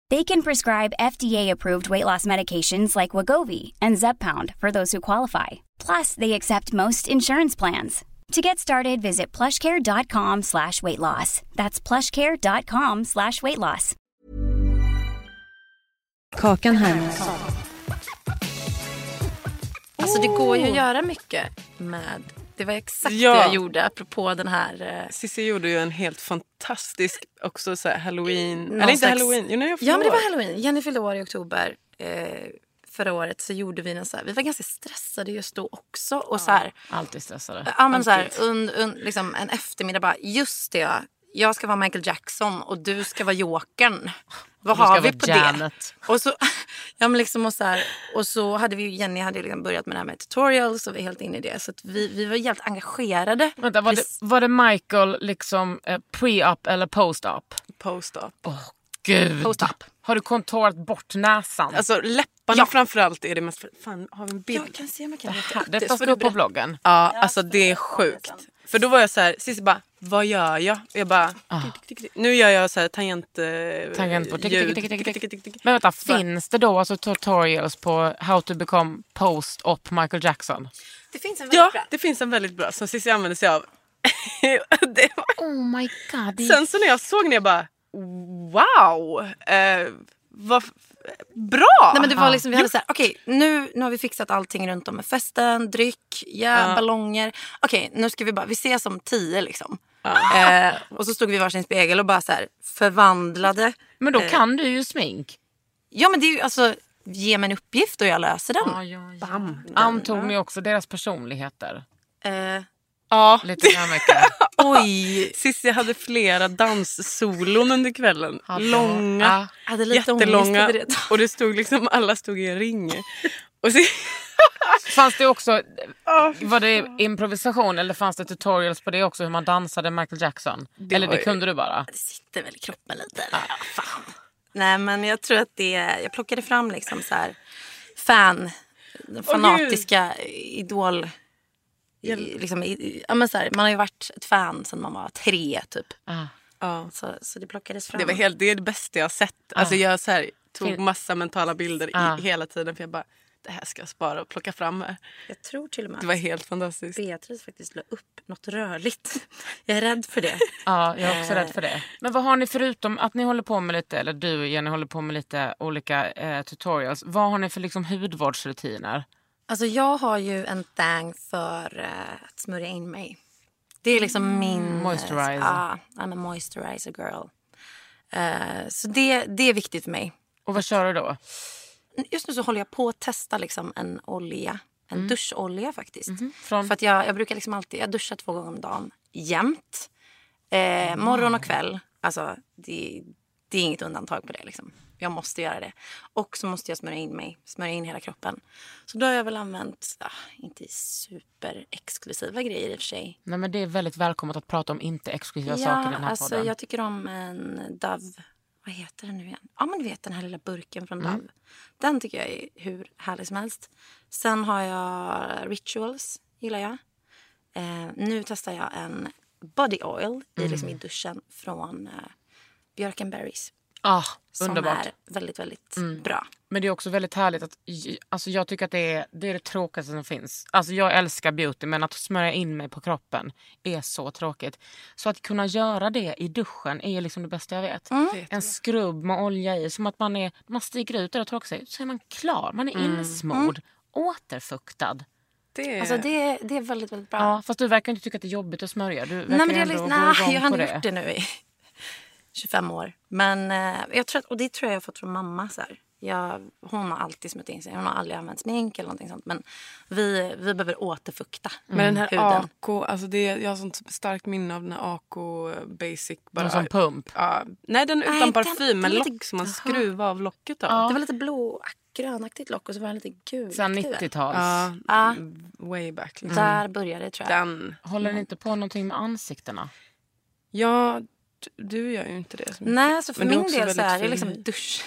G: They can prescribe FDA-approved weight loss medications like Wagovi and Zepbound for those who qualify. Plus, they accept most insurance plans. To get started, visit plushcare.com slash weight loss. That's plushcare.com slash weight loss.
D: Kakan Hermansson.
C: Alltså det går ju att göra mycket med... Det var exakt
F: Ja.
C: det jag gjorde apropå den här... eh,
F: Cissi gjorde ju en helt fantastisk också så här halloween...
C: någon
F: Eller inte
C: slags-
F: halloween. Jo, nej, jag
C: Ja men det
F: förstår.
C: var halloween. Jenny fyllde år i oktober. Eh, förra året så gjorde vi en så här... Vi var ganska stressade just då också. Och så här,
B: Alltid stressade.
C: Ja, men så här,
B: Alltid.
C: un, un, liksom en eftermiddag bara, just det, jag ska vara Michael Jackson och du ska vara Jokern. Vad
B: Du ska
C: har vi
B: vara
C: på
B: Janet.
C: det? Och så, ja, men liksom och, så här, och så hade vi ju, Jenny hade ju liksom börjat med det här med tutorials och vi är helt inne i det. Så att vi, vi var helt engagerade.
B: Vänta, var, det, var det Michael liksom eh, pre-up eller post-up?
F: Post-up.
B: Gud!
C: Post-up.
B: Har du kontorat bort näsan?
F: Alltså läpparna framförallt är det mest... Fan, har vi en bild?
C: Jag kan se om jag kan
B: det tas upp på bloggen.
F: Ja, alltså det är sjukt. För då var jag så här, Cissi bara, vad gör jag? Och jag bara, tick, tick, tick. nu gör jag så här tangent... eh,
B: Tangentbord. Tick,
F: ljud.
B: tick, tick, tick, tick,
F: tick, tick, tick.
B: Men vänta, finns det då alltså tutorials på how to become post-op Michael Jackson?
C: Det finns en väldigt
F: Ja,
C: bra.
F: det finns en väldigt bra som Cissi använde sig av. det var...
B: Oh my god. det-
F: Sen så när jag såg den jag bara, wow! Eh, vad f- bra!
C: Nej, men det var liksom, vi hade så här, okej nu, nu har vi fixat allting runt om med festen, dryck, ja, ballonger. Okej, nu ska vi bara, vi ses om tio liksom. Eh, och så stod vi i varsin spegel och bara så här förvandlade.
B: Men då
C: eh,
B: kan du ju smink.
C: Ja men det är ju alltså, ge mig en uppgift och jag löser den.
B: Bam. Antog ni också deras personligheter?
C: Eh,
F: Ja.
B: Lite för mycket.
F: Oj! Cissi hade flera danssolon under kvällen.
B: Hade hon.
F: Långa,
C: Jag hade lite ångest
F: jättelånga.
C: över det.
F: och det stod liksom, alla stod i en ring. Och Cissi,
B: Fanns det också var det improvisation eller fanns det tutorials på det också hur man dansade Michael Jackson? eller
F: var
B: det
F: ju-
B: kunde du bara?
C: det sitter väl i kroppen lite. eller?
F: Ah,
C: Ja, fan. Nej men jag tror att det, jag plockade fram liksom så här fan, den fanatiska idol. I, liksom, i, i, ja, men så här, man har ju varit ett fan sedan man var tre typ.
B: Ah.
C: Så, så det plockades fram.
F: det, var helt, det är det bästa jag har sett. Alltså jag så här, tog massa mentala bilder
B: Ah.
F: i, hela tiden för jag bara, det här ska jag spara och plocka fram här.
C: Jag tror till och med
F: Det
C: att
F: var helt fantastiskt.
C: Beatrice faktiskt la upp något rörligt. Jag är rädd för det.
B: Ja, jag är också rädd för det. Men vad har ni förutom att ni håller på med lite, eller du Jenny håller på med lite olika eh, tutorials. Vad har ni för liksom hudvårdsrutiner?
C: Alltså jag har ju en thang för eh, att smörja in mig. Det är liksom min... eh,
B: moisturizer.
C: Ja, I'm a moisturizer girl. Eh, så det, det är viktigt för mig.
B: Och vad kör du då?
C: Just nu så håller jag på att testa liksom en olja. En duscholja faktiskt.
B: Från-
C: För att jag, jag brukar liksom alltid, jag duschar två gånger om dagen. Jämt. Eh, morgon och kväll. Alltså det, det är inget undantag på det liksom. Jag måste göra det. Och så måste jag smörja in mig. Smörja in hela kroppen. Så då har jag väl använt, ah, inte superexklusiva grejer i och för sig.
B: Nej, men det är väldigt välkommet att prata om inte exklusiva saker i den här
C: alltså,
B: podden.
C: Jag tycker om en Dove. Vad heter den nu igen? Ja, men du vet den här lilla burken från
B: Mm.
C: Dove. Den tycker jag är hur härlig som helst. Sen har jag Rituals, gillar jag. Eh, nu testar jag en Body Oil i, liksom,
B: Mm.
C: i duschen från eh, Björkenberries.
B: Ah,
C: Som
B: underbart. Mm.
C: är väldigt, väldigt bra.
B: Men det är också väldigt härligt att, alltså jag tycker att det är det, är det tråkigaste som finns. Alltså jag älskar beauty men att smörja in mig på kroppen är så tråkigt. Så att kunna göra det i duschen är liksom det bästa jag vet.
C: Mm.
B: En skrubb med olja i, som att man, är, man stiger ut där och torkar sig, så är man klar, man är
C: Mm.
B: insmord, återfuktad.
F: Det är...
C: Alltså,
B: Eh,
C: det, det är väldigt, väldigt bra.
B: Ja, fast du verkar inte tycka att det är jobbigt att smörja. Du verkar
C: Nej, men det är
B: ändå
C: liksom,
B: gå
C: nej,
B: igång
C: jag
B: på
C: har
B: det.
C: gjort det nu i 25 år. Men eh, jag tror att, och det tror jag jag har fått från mamma. Så här. Jag, hon har alltid smutt in sig. Hon har aldrig använt smink eller någonting sånt. Men vi, vi behöver återfukta
F: Men den här
C: Mm, huden.
F: AK, alltså det, jag har sånt starkt minne av den här AK basic. Bara,
B: Någon sån pump.
F: ja, nej den utan
C: Nej, den-
F: parfym
C: den
F: men
C: är
F: lock
C: lite-
F: som man
C: Jaha.
F: skruvar av locket av.
C: Det var lite blå, grönaktigt lock och så var det lite gul.
B: Sen
C: aktiv.
B: 90-tals.
F: Ja,
C: Ja,
F: way back.
B: Mm.
F: Liksom.
C: där började det tror jag.
F: Den.
B: Håller ni inte på någonting med ansiktena?
F: Ja, d- du gör ju inte det. så mycket.
C: Nej, så för
F: Men det är
C: min
F: också
C: del så
F: väldigt
C: är det
F: fin
C: liksom
F: hy.
C: dusch,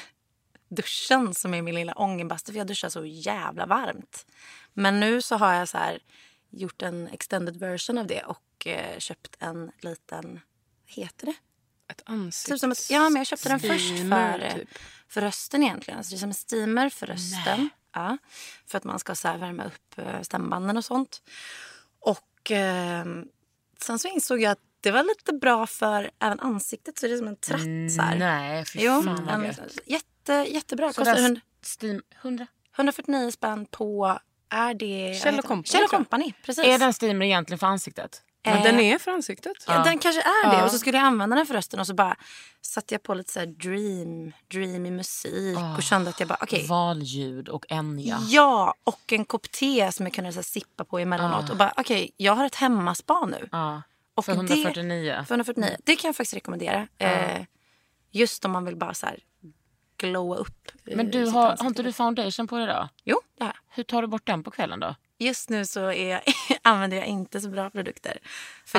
C: duschen som är min lilla ångenbastu för jag duschar så jävla varmt. Men nu så har jag så här gjort en extended version av det och eh, köpt en liten, vad heter det?
F: Ett ansikts...
C: Typ som ett, ja, men jag köpte den först
F: steamer,
C: för,
F: typ.
C: för rösten egentligen. Alltså det är som en steamer för rösten. Ja, för att man ska så här värma upp eh, stämbanden och sånt. Och eh, sen så insåg jag att det var lite bra för även ansiktet. Så det är som en tratt så här.
B: Nej, fy
C: Jo,
B: fan vad
C: en,
B: gött.
C: jätte, jättebra.
B: Så
C: Kostar
B: där-
C: hund-
B: Steam 100.
C: 149 spänn på... Är det...
F: Kjell och
C: vad heter det?
F: Company,
C: Kjell
F: tror jag.
C: Company, precis.
B: Är den steamer egentligen för ansiktet?
F: Men
C: Eh,
F: den är för ansiktet.
C: Ja, Den kanske är det.
F: Ja.
C: Och så skulle jag använda den för rösten och så bara satte jag på lite så här dream, dreamy musik
B: Ah,
C: och kände att jag bara okej.
B: Valljud och Enya.
C: Ja. och en kopp te som jag kunde så här sippa på emellanåt.
B: Ja.
C: Och bara okej, jag har ett hemmaspa nu.
B: Ja.
C: Och
B: Ah. För Ah.
C: det-
B: 149.
C: 249. Det kan jag faktiskt rekommendera. Eh, just om man vill bara så här glowa upp. eh,
B: Men du
C: sitt
B: har, har
C: ansikte.
B: inte du foundation på dig då?
C: Jo, det har jag.
B: Hur tar du bort den på kvällen då?
C: Just nu så är jag, använder jag inte så bra produkter. För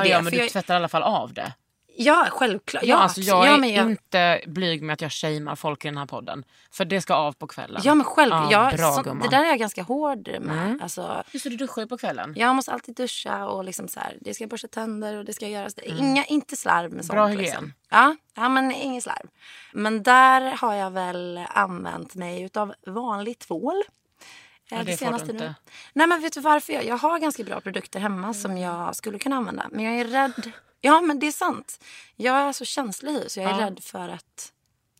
B: För
C: det.
B: ja, men
C: för
B: du
C: jag,
B: tvättar i alla fall av det.
C: ja, självklart. Ja,
B: alltså, jag
C: absolut. ja,
B: är
C: men jag,
B: inte blyg med att jag shamear folk i den här podden. För det ska av på kvällen.
C: Ja, men själv.
B: Ja,
C: jag,
B: bra
C: så,
B: gumman.
C: det där är jag ganska hård med.
B: Mm.
C: Alltså,
B: Just det, du duschar ju på kvällen.
C: jag måste alltid duscha och liksom så här, det ska borsta tänder och det ska göras. det- Inga, inte slarv med sånt.
B: Mm. Bra hygien.
C: Liksom. Ja, ja, men ingen slarv. Men där har jag väl använt mig av vanlig tvål. eh,
B: Ja, det får du inte.
C: Nej, men vet du varför? Jag, jag har ganska bra produkter hemma
B: Mm.
C: som jag skulle kunna använda. Men jag är rädd. Ja, men det är sant. Jag är så känslig hy, så jag är
B: Ja.
C: rädd för att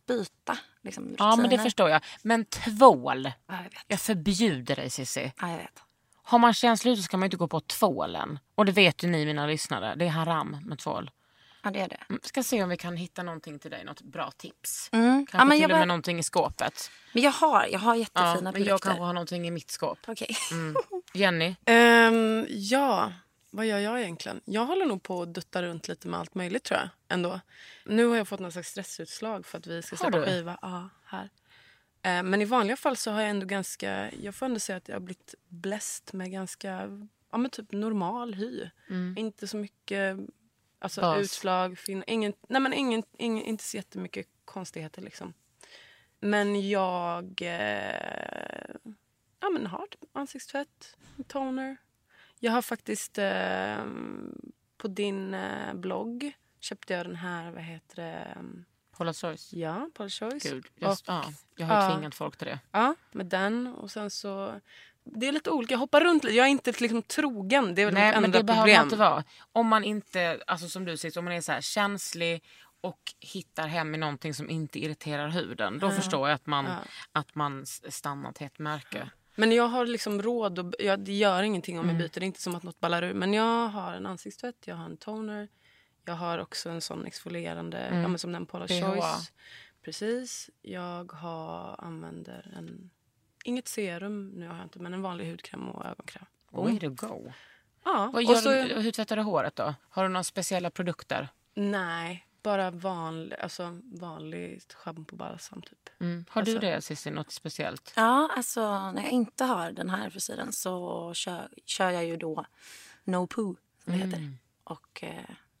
C: byta. Liksom,
B: Ja, men det
C: rutiner.
B: förstår jag. Men tvål.
C: Ja, jag vet.
B: Jag förbjuder dig Cissi.
C: Ja, jag vet.
B: Har man känslig hud så ska man ju inte gå på tvålen. Och det vet ju ni mina lyssnare. Det är haram med tvål.
C: Ja, det är det.
B: Mm, Ska se om vi kan hitta någonting till dig. Något bra tips.
C: Mm.
B: Kanske
C: Ja, men,
B: till
C: jag
B: och med
C: bara,
B: någonting i skåpet.
C: men jag har, jag har jättefina
B: Ja, men
C: produkter.
B: jag kanske har någonting i mitt skåp.
C: Okej.
B: Mm. Jenny?
F: Ehm, ja, vad gör jag egentligen? Jag håller nog på att dutta runt lite med allt möjligt tror jag. Ändå. Nu har jag fått någon slags stressutslag för att vi ska
B: Har
F: släppa
B: du?
F: skiva. Ja, här. Ehm, men i vanliga fall så har jag ändå ganska, jag får ändå säga att jag har blivit bläst med ganska, ja men typ normal hy. Inte så mycket alltså,
B: Mm. Bas.
F: utslag, fin, ingen, nej men ingen, ingen, inte så jättemycket konstigheter liksom. Men jag eh, ja, men har typ ansiktstvätt, toner. Jag har faktiskt eh, på din eh, blogg köpte jag den här, vad heter det,
B: Paula Choice?
F: ja, Paul Choice.
B: Gud, jag,
F: Och-
B: ja, jag har ju
F: ja.
B: tvingat folk till det.
F: Ja, med den och sen så, det är lite olika, jag hoppar runt lite. Jag är inte liksom trogen, det är väl mitt
B: Nej, men
F: enda
B: det behöver man
F: problem.
B: inte vara. Om man inte, alltså som du säger, om man är så här känslig och hittar hem i någonting som inte irriterar huden. Då förstår jag att man,
F: Ja.
B: att man s- stannar till ett märke.
F: Men jag har liksom råd och jag, det gör ingenting om
B: Mm.
F: jag byter. Det är inte som att något ballar ur. Men jag har en ansiktstvätt, jag har en toner. Jag har också en sån exfolierande,
B: Mm.
F: ja, men som den Paula
B: BHA.
F: Choice. Precis. Jag har, använder en, inget serum nu har jag inte, men en vanlig hudkräm och ögonkräm.
B: Way
C: Mm.
B: to go.
F: Ja,
B: Vad
F: och
B: gör
F: så-
B: du, hur tvättar du håret då? Har du några speciella produkter?
F: Nej, bara vanlig, alltså vanlig schampo och balsam typ.
B: Mm. Har du
F: Alltså-
B: det Cissi, något speciellt?
C: Ja, alltså när jag inte har den här frisyren så kör, kör jag ju då No Poo, som det heter.
B: Mm.
C: Och, eh,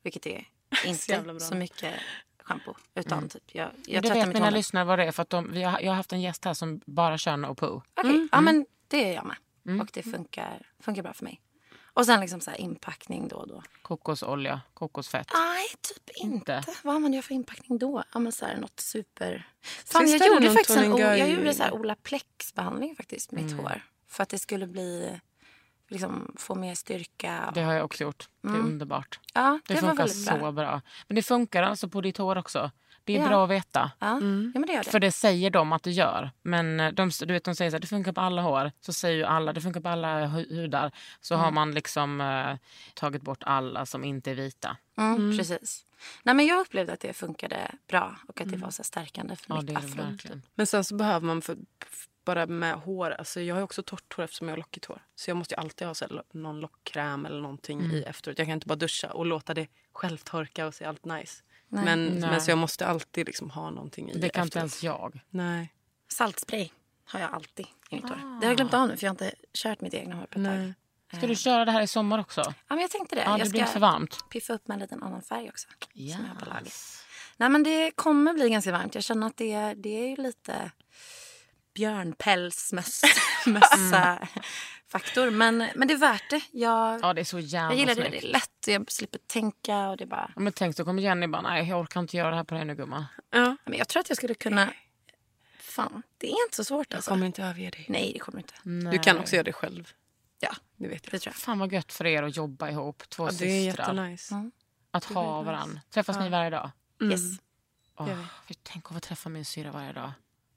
C: vilket är inte
F: jävla
C: så,
F: bra.
C: mycket schampo. Utan typ, jag, jag
B: det
C: tvättar
B: Mm. vet
C: mitt
B: mina
C: hår.
B: lyssnare vad det är. För att de, vi har, jag har haft en gäst här som bara kör no poo.
C: Okej, ja
B: mm.
C: men det är jag med. Och det funkar, funkar bra för mig. Och sen liksom så här inpackning då och då.
B: Kokosolja, kokosfett.
C: Nej, typ inte.
B: Inte?
C: Vad har man gör för inpackning då? Ja, men så här, något super... Fan, jag
F: Testade du
C: gjorde
F: någon
C: faktiskt en, o-
F: Tony
C: jag
F: Guy-
C: gjorde så här Ola Plex-behandling faktiskt, mitt
B: Mm.
C: hår. För att det skulle bli... Liksom, få mer styrka.
B: Det har jag också gjort. Det är underbart.
C: ja, Mm.
B: Det,
C: det, var
B: funkar
C: väldigt
B: så
C: bra.
B: bra. Men det funkar alltså på ditt hår också. Det är
C: Ja.
B: bra att veta.
C: Ja. ja, men det gör det.
B: Mm. För det säger de att det gör. Men eh, de, du vet, de säger att det funkar på alla hår. Så säger ju alla det funkar på alla hu- hudar. Så
C: Mm.
B: har man liksom eh, tagit bort alla som inte är vita.
C: Mm, Precis. Nej, men jag upplevde att det funkade bra och att det var så här stärkande för
B: Mm. Ja,
C: mitt
B: det är det
C: afro.
B: verkligen.
F: Men sen så behöver man för, f- bara med hår, alltså jag har ju också torrt hår eftersom jag har lockigt hår. Så jag måste ju alltid ha så här, lo- någon lockkräm eller någonting
B: Mm.
F: i efteråt. Jag kan inte bara duscha och låta det självtorka och se allt nice. Men, men så jag måste alltid liksom ha någonting i
B: Det kan inte ens
F: efteråt.
B: jag.
F: Nej.
C: Saltspray har jag alltid i
B: Ah.
C: mitt hår. Det har jag glömt av nu för jag har inte kört mitt egna hår på ett tag.
F: Nej.
B: Ska
F: Eh.
B: du köra det här i sommar också?
C: Ja, men jag tänkte det.
B: Ja, det
C: jag
B: blir inte för varmt.
C: piffa upp med en liten annan färg också. Som jag har på lager.
B: Yes.
C: Nej, men det kommer bli ganska varmt. Jag känner att det, det är ju lite
B: Mm.
C: björnpälsmössa-faktor. Men, men det är värt det. Jag,
B: Ja, det är så jävla
C: jag gillar det. Det
B: snyggt.
C: är lätt och jag slipper tänka. Och det är bara...
B: Ja, Men tänk, då kommer Jenny bara, nej jag orkar inte göra det här på dig nu gumman.
F: Ja.
C: Men jag tror att jag skulle kunna fan, det är inte så svårt
F: Jag
C: alltså.
F: kommer inte överge dig.
C: Nej, det kommer inte.
F: Du kan också göra det själv.
C: Ja,
F: Det vet jag.
C: det tror jag.
B: Fan vad gött för er att jobba ihop, två
F: Ja, det är
B: systrar.
F: jättenice.
C: Mm.
B: Att
F: Det är väldigt
B: ha
F: nice.
B: varandra. Träffas ni varje dag?
C: Yes.
B: Åh,
F: gör vi.
B: fy, tänk att få träffa min syra varje dag.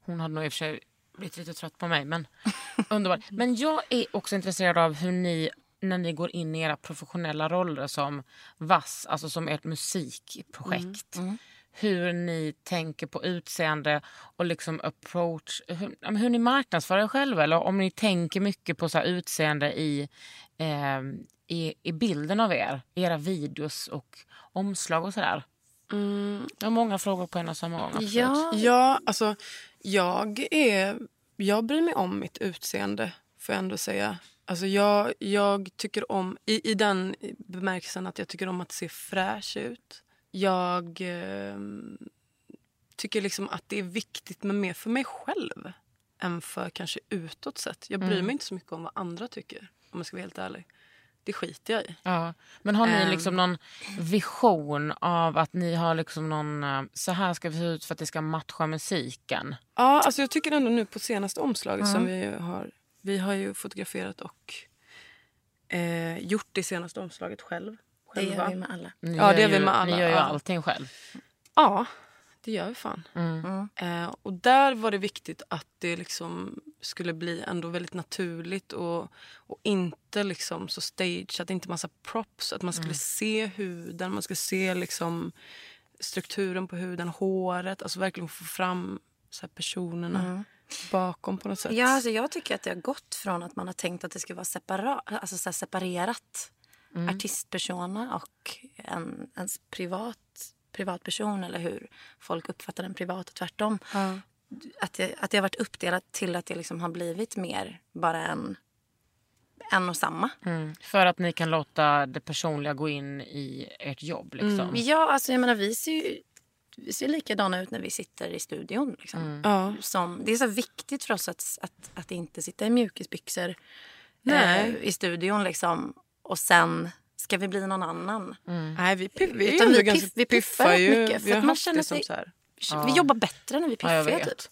B: Hon hade nog i och för sig blivit lite trött på mig, men underbart. Men jag är också intresserad av hur ni, när ni går in i era professionella roller som Vass, alltså som ert musikprojekt, hur ni tänker på utseende och liksom approach, hur, ja, men hur ni marknadsför er själva eller om ni tänker mycket på så här utseende i, eh, i, i bilden av er, i era videos och omslag och sådär.
F: Mm.
B: Jag har många frågor på en och samma gång. absolut.
C: Ja,
F: Ja, alltså jag är... Jag bryr mig om mitt utseende, får jag ändå säga. Alltså jag, jag tycker om, i, i den bemärkelsen att jag tycker om att se fräsch ut. Jag eh, tycker liksom att det är viktigt med mer för mig själv än för kanske utåt sett. Jag bryr mig inte så mycket om vad andra tycker, om jag ska vara helt ärlig. Det skiter jag i.
B: Ja. Men har ni
F: Ehm.
B: liksom någon vision av att ni har liksom någon... eh, Så här ska vi se ut för att det ska matcha musiken.
F: Ja, alltså jag tycker ändå nu på senaste omslaget som vi ju har... Vi har ju fotograferat och eh, gjort det senaste omslaget själv.
C: det
F: Själva.
C: gör vi med alla.
B: Ni
F: Ja,
B: gör
F: det gör vi
B: ju,
F: med alla,
B: Ni gör ju
F: ja.
B: allting själv.
F: Ja, det gör vi fan.
B: Mm.
F: Eh, och där var det viktigt att det liksom skulle bli ändå väldigt naturligt och, och inte liksom så stage, att det inte massa props. Att man
C: Mm.
F: skulle se huden, man skulle se liksom strukturen på huden, håret. Alltså verkligen få fram så här personerna bakom på något sätt.
C: Mm. Ja, alltså jag tycker att det har gått från att man har tänkt att det ska vara separa- alltså så här separerat. Artistpersona och en, ens privat, privatperson eller hur folk uppfattar den privat och tvärtom. Att, det, att det har varit uppdelat till att det liksom har blivit mer bara en, en och samma.
B: Mm. För att ni kan låta det personliga gå in i ert jobb.
F: Mm.
B: Liksom.
C: Ja, alltså jag menar vi ser ju vi ser likadana ut när vi sitter i studion. Liksom.
F: Ja.
C: som, det är så viktigt för oss att, att, att inte sitta i mjukisbyxor
F: Nej.
C: Eh, i studion liksom. och sen ska vi bli någon annan.
F: Nej, vi, piff, vi, är
C: Utan
F: ändå
C: vi
F: ganska
C: piff- vi piffar rätt
F: ju.
C: mycket, för
F: vi har
C: att man
F: haft
C: känner
F: det som
C: sig-
F: så här.
C: Vi jobbar bättre när vi är
B: Ja, jag
C: piffiga.
B: vet.
C: typ.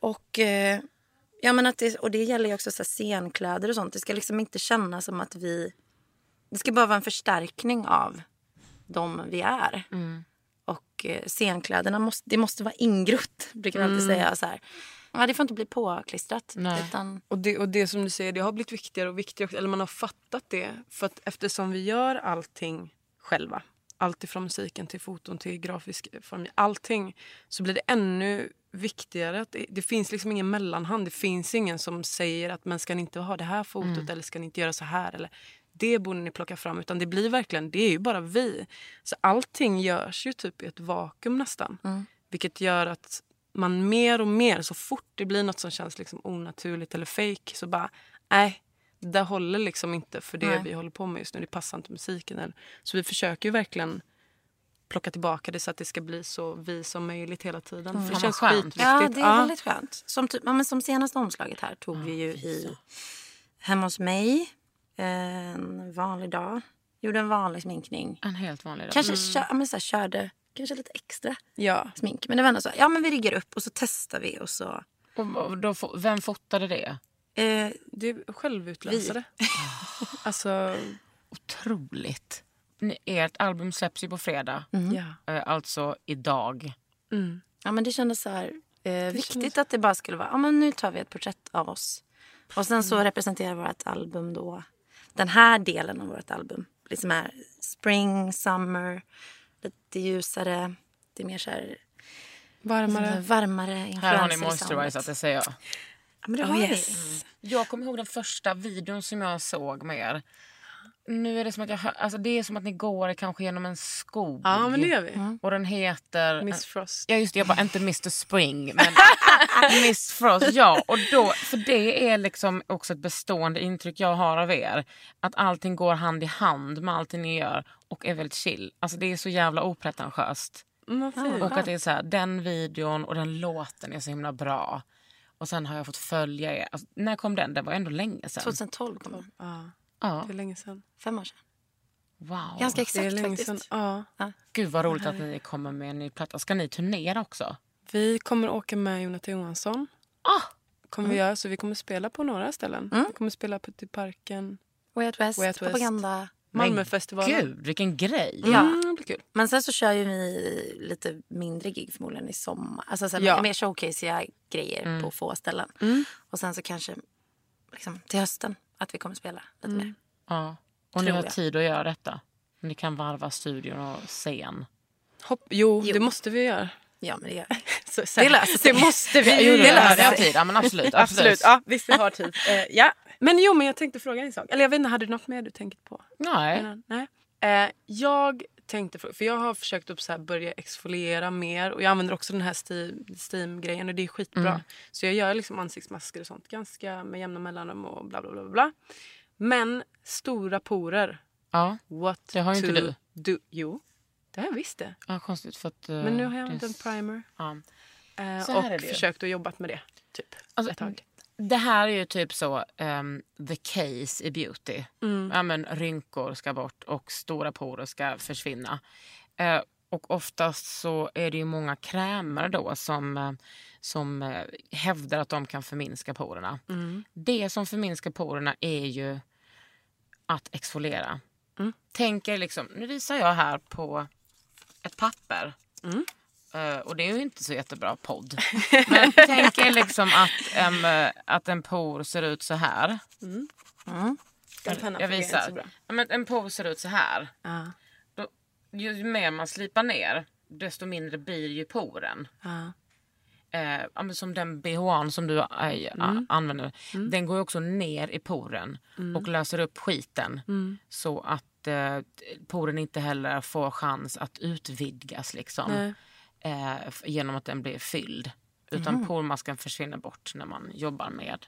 C: och, eh, ja, men att det, och det gäller ju också så här scenkläder och sånt. Det ska liksom inte kännas som att vi... Det ska bara vara en förstärkning av de vi är.
B: Mm.
C: Och eh, scenkläderna måste, det måste vara ingrott, brukar man alltid säga. Så här. Ja, det får inte bli påklistrat.
B: Mm. Nej.
C: Utan,
F: Och det, och det som du säger, det har blivit viktigare och viktigare. också. Eller man har fattat det. För att eftersom vi gör allting själva. Allt ifrån musiken till foton till grafisk form. Allting. Så blir det ännu viktigare. Att det, det finns liksom ingen mellanhand. Det finns ingen som säger att men ska ni inte ha det här fotot eller ska ni inte göra så här. Eller, det borde ni plocka fram. Utan det blir verkligen, det är ju bara vi. Så allting görs ju typ i ett vakuum nästan. Vilket gör att man mer och mer, så fort det blir något som känns liksom onaturligt eller fake så bara, nej, det där håller liksom inte för det
C: Nej.
F: vi håller på med just nu. Det passar inte musiken. Eller. Så vi försöker ju verkligen plocka tillbaka det så att det ska bli så vi som möjligt hela tiden. För det
B: vad
F: känns
B: skönt.
F: skitviktigt.
C: Mm. Ja, det är väldigt skönt. Som, typ, ja, men som senaste omslaget här tog vi ju i, hemma hos mig en vanlig dag. Gjorde en vanlig sminkning.
B: En helt vanlig dag.
C: Kanske, kö, ja, Mm. men så här, körde kanske lite extra
F: ja.
C: smink. Men det var ändå så, ja men vi riggar upp och så testar vi och så.
B: Och, och då, fo- vem fotade det?
C: Eh,
F: Det är självutläsare. alltså,
C: Mm.
B: Otroligt. Ni- Ert album släpps ju på fredag,
F: ja.
B: eh, alltså idag.
F: Mm.
C: ja men det kändes så här eh, viktigt att det bara skulle vara, ja men nu tar vi ett porträtt av oss. Och sen så representerar vårt album då den här delen av vårt album. Liksom är spring, summer, lite ljusare. Det är mer så här
F: Varmare.
C: Varmare, varmare
B: Här har ni
C: influenser i soundet.
B: moisturizat, det säger jag.
C: Ja, men det har
F: Oh,
C: vi.
F: yes.
B: Jag kommer ihåg den första videon som jag såg med er. Nu är det som att jag hör, alltså det är som att ni går kanske genom en skog.
F: Ja, men det gör vi.
C: Mm.
B: Och den heter...
F: Miss Frost.
B: Ja just det, jag bara inte Mr Spring men Miss Frost. Ja, och då, för det är liksom också ett bestående intryck jag har av er. Att allting går hand i hand med allting ni gör och är väldigt chill. Alltså det är så jävla opretentiöst.
F: Mm, vad fint.
B: Och att det är så här, den videon och den låten är så himla bra. Och sen har jag fått följa er. Alltså, när kom den? Den var ändå länge sedan.
C: 2012 kom den.
F: Ja,
B: Ja.
F: det är länge sedan.
C: Fem år sedan.
B: Wow.
C: Ganska
F: det är
C: exakt
F: länge
C: faktiskt.
F: sedan. Ja.
B: Gud vad roligt att ni kommer med en ny platta. Ska ni turnera också?
F: Vi kommer åka med Jonathan Johansson
B: Ah!
F: Kommer vi göra, så vi kommer spela på några ställen.
C: Mm.
F: Vi kommer spela på i parken,
C: Way Out West,
F: Way Out West.
C: propaganda.
F: Malmöfestivalen.
B: Gud, vilken grej.
C: Ja.
F: Mm, det blir kul.
C: Men sen så kör ju vi lite mindre gig förmodligen i sommar. Alltså så här,
F: Ja. Mm.
C: mer showcaseiga grejer på få ställen. Och sen så kanske liksom, till hösten att vi kommer spela lite
F: Mm.
C: mer.
B: Ja. Och ni
C: Tror
B: har
C: jag.
B: tid att göra detta. Ni kan varva studion och scen.
F: Hopp, jo,
C: Jo.
F: det måste vi göra.
C: Ja, men det gör
F: Så,
C: Det löser sig.
F: Det måste vi
C: Jo,
F: ju
C: det
F: göra.
C: löser
B: Ni har
C: sig.
B: tid, ja men absolut.
F: Absolut.
B: absolut.
F: Ja, visst, vi har tid. Eh, ja. Men jo, men jag tänkte fråga en sak. Eller jag vet inte, hade du något mer du tänkt på?
B: Nej.
F: Innan? Nej. Eh, jag tänkte fråga, för jag har försökt att så här börja exfoliera mer och jag använder också den här Steam- Steam-grejen och det är skitbra. Så jag gör liksom ansiktsmasker och sånt ganska med jämna mellanrum och bla bla bla bla. Men stora porer,
B: Ja.
F: what
B: Det har ju
F: to
B: inte du.
F: do? Jo, det har jag visst det.
B: ja, konstigt för att... eh,
F: Men nu har jag
B: det är
F: använt en
B: s-
F: primer
B: Ja. Så
F: eh,
B: här är
F: och
B: det ju.
F: försökt och jobbat med det. Typ.
B: Alltså,
F: ett tag.
B: Det här är ju typ så ehm, the case i beauty. Ja, men, rynkor ska bort och stora porer ska försvinna. Eh, och oftast så är det ju många krämer då som, eh, som eh, hävdar att de kan förminska porerna. Det som förminskar porerna är ju att exfoliera. Tänker liksom, nu visar jag här på ett papper. Eh, och det är ju inte så jättebra podd. Men tänk er liksom att, em, eh, att en por ser ut så här.
F: Den pennan
B: Jag
F: fungerar inte så
B: visar.
F: bra.
B: Ja, men en por ser ut så här.
F: Ja.
B: Då, ju ju mer man slipar ner desto mindre blir ju poren.
F: Ja.
B: Eh, ja, men som den bhn som du eh,
F: Mm.
B: a- använder. Den går ju också ner i poren
F: Mm.
B: och löser upp skiten. Så att eh, poren inte heller får chans att utvidgas liksom.
F: Nej.
B: eh, f- genom att den blir fylld. Utan pormasken försvinner bort när man jobbar med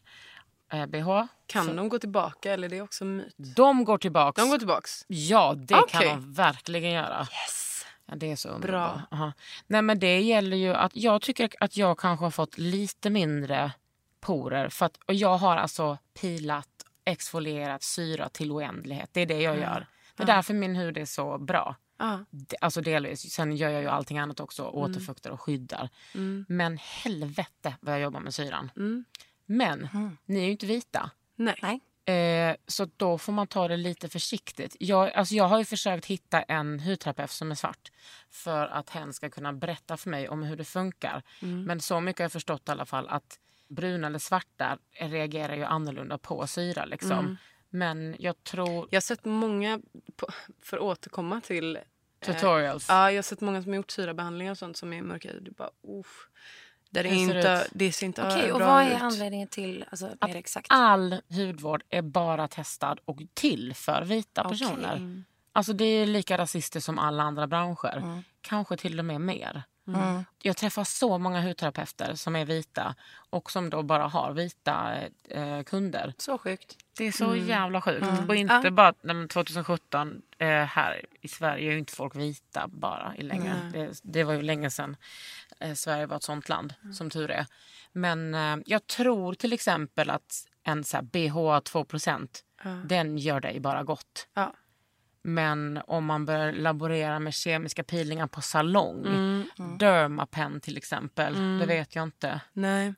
B: eh, bh.
F: Kan de gå tillbaka eller är det också en myt?
B: De går tillbaks.
F: De går tillbaks.
B: Ja, det kan
F: Okej.
B: de verkligen göra. Ja, det är så underbart.
F: Bra.
B: Aha. Nej, men det gäller ju att jag tycker att jag kanske har fått lite mindre porer. För att, och jag har alltså pilat, exfolierat, syra till oändlighet. Det är det jag gör. Det är därför min hud är så bra.
F: Mm. Ja. Mm.
B: Det- Alltså delvis. Sen gör jag ju allting annat också. Återfuktar och skyddar. Men helvete vad jag jobbar med syran.
F: Mm.
B: Men ni är ju inte vita.
F: Nej.
C: Nej.
B: Eh, så då får man ta det lite försiktigt. Jag, alltså jag har ju försökt hitta en hudterapeut som är svart för att hen ska kunna berätta för mig om hur det funkar. Men så mycket har jag förstått i alla fall att bruna eller svarta reagerar ju annorlunda på syra. Liksom. Men jag tror...
F: Jag har sett många, på, för att återkomma till... eh,
B: Tutorials.
F: Ja, jag har sett många som har gjort syrabehandlingar och sånt som är mörkare. Du bara, uff. Där det,
B: Hur ser det
F: inte,
B: ut?
F: det ser inte
C: Okej, och
F: bra
C: vad
F: ut.
C: är anledningen till, alltså mer exakt?
B: All hudvård är bara testad och till för vita
C: Okej.
B: personer. Alltså det är lika rasistiskt som alla andra branscher.
C: Mm.
B: Kanske till och med mer. Jag träffar så många hudterapeuter som är vita och som då bara har vita eh, kunder.
C: Så sjukt.
B: Det är så jävla sjukt. Och inte bara nej, men 2017 eh, här i Sverige är ju inte folk vita bara i längre. Det, det var ju länge sedan eh, Sverige var ett sånt land, som tur är. Men eh, jag tror till exempel att en så här, BH 2 den gör dig bara gott.
F: Ja.
B: Men om man börjar laborera med kemiska peelingar på salong, Dermapen till exempel, det vet jag inte.
F: Nej.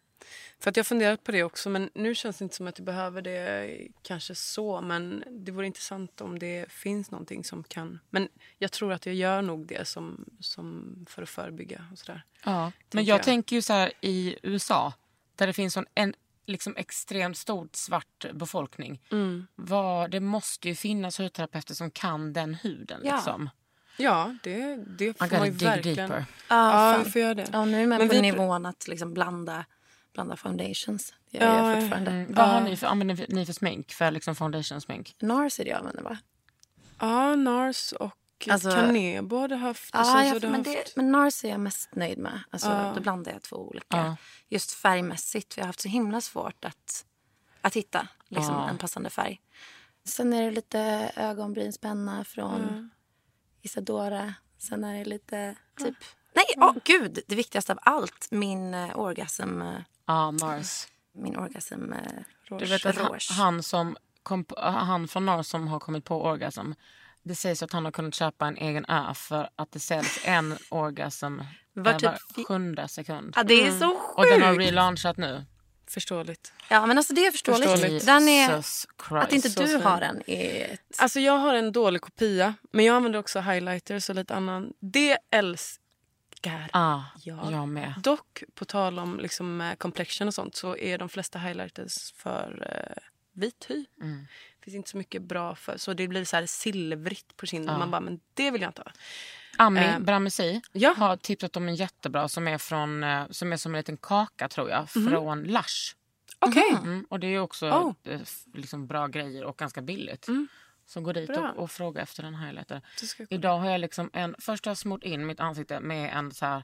F: För att jag har funderat på det också men nu känns det inte som att jag behöver det kanske så men det vore intressant om det finns någonting som kan. Men jag tror att jag gör nog det som, som för att förebygga och sådär.
B: Ja, men
F: tänker
B: jag,
F: jag.
B: tänker ju så här i USA där det finns sån en liksom extremt stor svart befolkning. Vad, det måste ju finnas hudterapeuter som kan den huden.
C: Ja.
B: Liksom.
F: Ja, det, det
B: Man
F: får
B: kan
F: man ju
B: dig dig
F: verkligen.
B: deeper.
C: Ja,
F: Ja,
C: fan.
F: vi får göra det.
C: Ja, nu är man
F: Men
C: på
F: vi-
C: nivån att liksom blanda, blanda foundations. Det gör
F: Ja,
C: jag fortfarande.
B: Mm. Vad har ni för, använder ni för smink? För liksom foundation-smink?
C: Nars är det jag använder, va?
F: Ja, Nars och
C: Alltså-
F: Kanebo har du haft. och sen
C: Ja,
F: så
C: jag,
F: har du
C: men,
F: haft...
C: det, men Nars är jag mest nöjd med. Alltså,
F: Ja.
C: Då blandar jag två olika.
B: Ja.
C: Just färgmässigt. Vi har haft så himla svårt att, att hitta liksom,
B: Ja.
C: en passande färg. Sen är det lite ögonbrynspenna från Isadora. Sen är det lite typ... Nej, åh gud! Det viktigaste av allt, min eh, orgasm... eh,
B: Ja, Mars.
C: Min orgasm... eh,
B: Du vet att han,
C: Rouge.
B: han, som kom, på- han från Norr som har kommit på orgasm. Det sägs att han har kunnat köpa en egen ö för att det säljs en orgasm eh,
C: Var typ
B: var
C: fi-
B: sjunde sekund.
C: Ja, det är så sjukt!
B: Och den har relaunchat nu.
F: Förståeligt.
C: Ja, men alltså det är förståeligt.
F: Förståeligt.
C: Den är,
B: Jesus
C: att
B: Christ.
C: inte
F: Så
C: du
F: snäll.
C: har den är... ett-
F: Alltså jag har en dålig kopia, men jag använder också highlighters och lite annan. Det älskar
B: Ah,
F: jag.
B: jag med.
F: Dock, på tal om liksom eh, complexion och sånt så är de flesta highlighters för eh, vit hy.
B: Mm.
F: Det finns inte så mycket bra för... Så det blir så här silvrigt på kinden.
B: Ja.
F: Man bara, men det vill jag inte ha.
B: Ami
F: Eh,
B: Bramesi
F: ja.
B: har tipsat om en jättebra som är, från, eh, som är som en liten kaka tror jag, från Lush.
F: Okej.
B: Mm, och det är också
F: Mhm. Oh.
B: eh, f- liksom bra grejer och ganska billigt.
F: Mm.
B: Så gå dit
F: Bra.
B: och, och fråga efter en highlighter.
F: Det ska jag kolla.
B: Idag har jag liksom en, först har jag smort in mitt ansikte med en så här,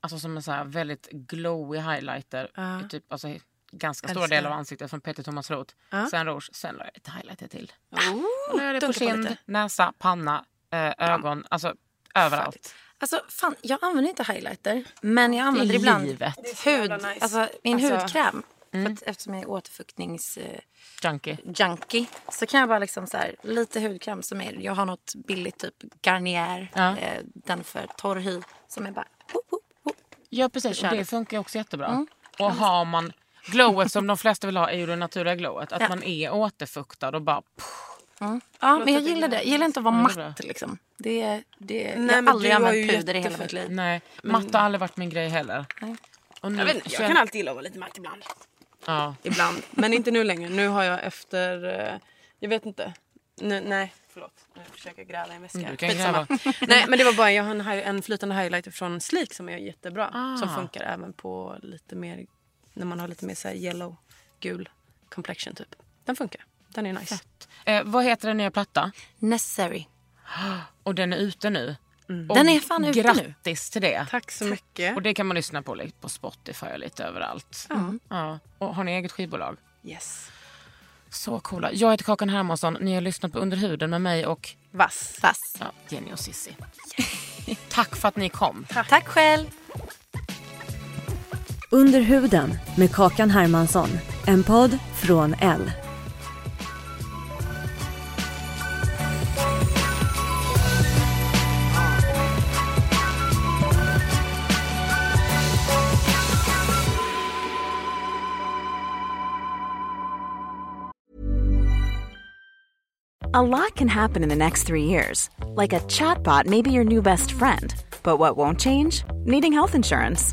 B: alltså som en så här väldigt glowy highlighter.
F: Ja.
B: i Typ, alltså, i ganska stora
F: Älskar.
B: delar av ansiktet från Peter Thomas Roth.
F: Ja.
B: Sen rouge, sen la jag lite highlighter till.
F: Oh,
B: Och nu är det på
F: dunka på
B: kind,
F: lite.
B: näsa, panna, eh, ögon, alltså överallt.
C: Alltså, fan, jag använder inte highlighter, men jag använder ibland
B: livet.
C: hud, alltså, min
F: Alltså-
C: hudkräm.
B: mm.
C: För att, eftersom jag är återfuktningsjunkie
B: Junkie.
C: så kan jag bara liksom så här, lite hudkräm som är... Jag har något billigt, typ Garnier,
B: Ja.
C: eh, den för torr hy, som är bara... Hoop, hoop, hoop.
B: Ja precis, och
C: Kör.
B: det funkar ju också jättebra.
F: Mm.
B: Och har man glowet som de flesta vill ha är ju det naturliga glowet. Att
C: Ja.
B: man är återfuktad och bara... Pff,
C: mm. Ja, men jag gillar det. Jag gillar inte att vara
B: Ja, det är bra.
C: matt. Liksom. Det, det,
F: Nej,
C: jag
F: men
C: har aldrig
F: du har
C: använt
F: ju
C: puder i hela mitt liv.
B: nej, matte har aldrig varit min grej heller. Och nu,
F: Jag, vet, inte, jag kan alltid gilla att vara lite matt ibland.
B: ja.
F: Ibland. Men inte nu längre. Nu har jag efter... eh, Jag vet inte. Nu, nej, förlåt. Nu försöker jag gräva i en väska.
B: Mm, du kan
F: Skitsamma. nej, men det var bara... Jag har en, hi- en flytande highlighter från Sleek som är jättebra.
B: Ah.
F: Som funkar även på lite mer... När man har lite mer så här yellow, gul complexion typ. Den funkar. Den är nice.
B: eh, vad heter den nya platta?
C: Necessary.
B: Och den är ute nu. Och
C: Mm. Den är fan ute
B: grattis
C: nu.
B: Grattis till det.
F: Tack så mycket.
B: Och det kan man lyssna på lite på Spotify och lite överallt.
C: Mm.
B: Ja. Och har ni eget skivbolag?
F: Yes.
B: Så coola. Jag heter Kakan Hermansson. Ni har lyssnat på Under huden med mig och
F: Vass.
C: Fast.
B: ja, Jenny och Sissi. Tack för att ni kom.
C: Tack själv.
D: Under huden med Kakan Hermansson. En podd från L.
H: A lot can happen in the next three years. Like a chatbot may be your new best friend. But what won't change? Needing health insurance.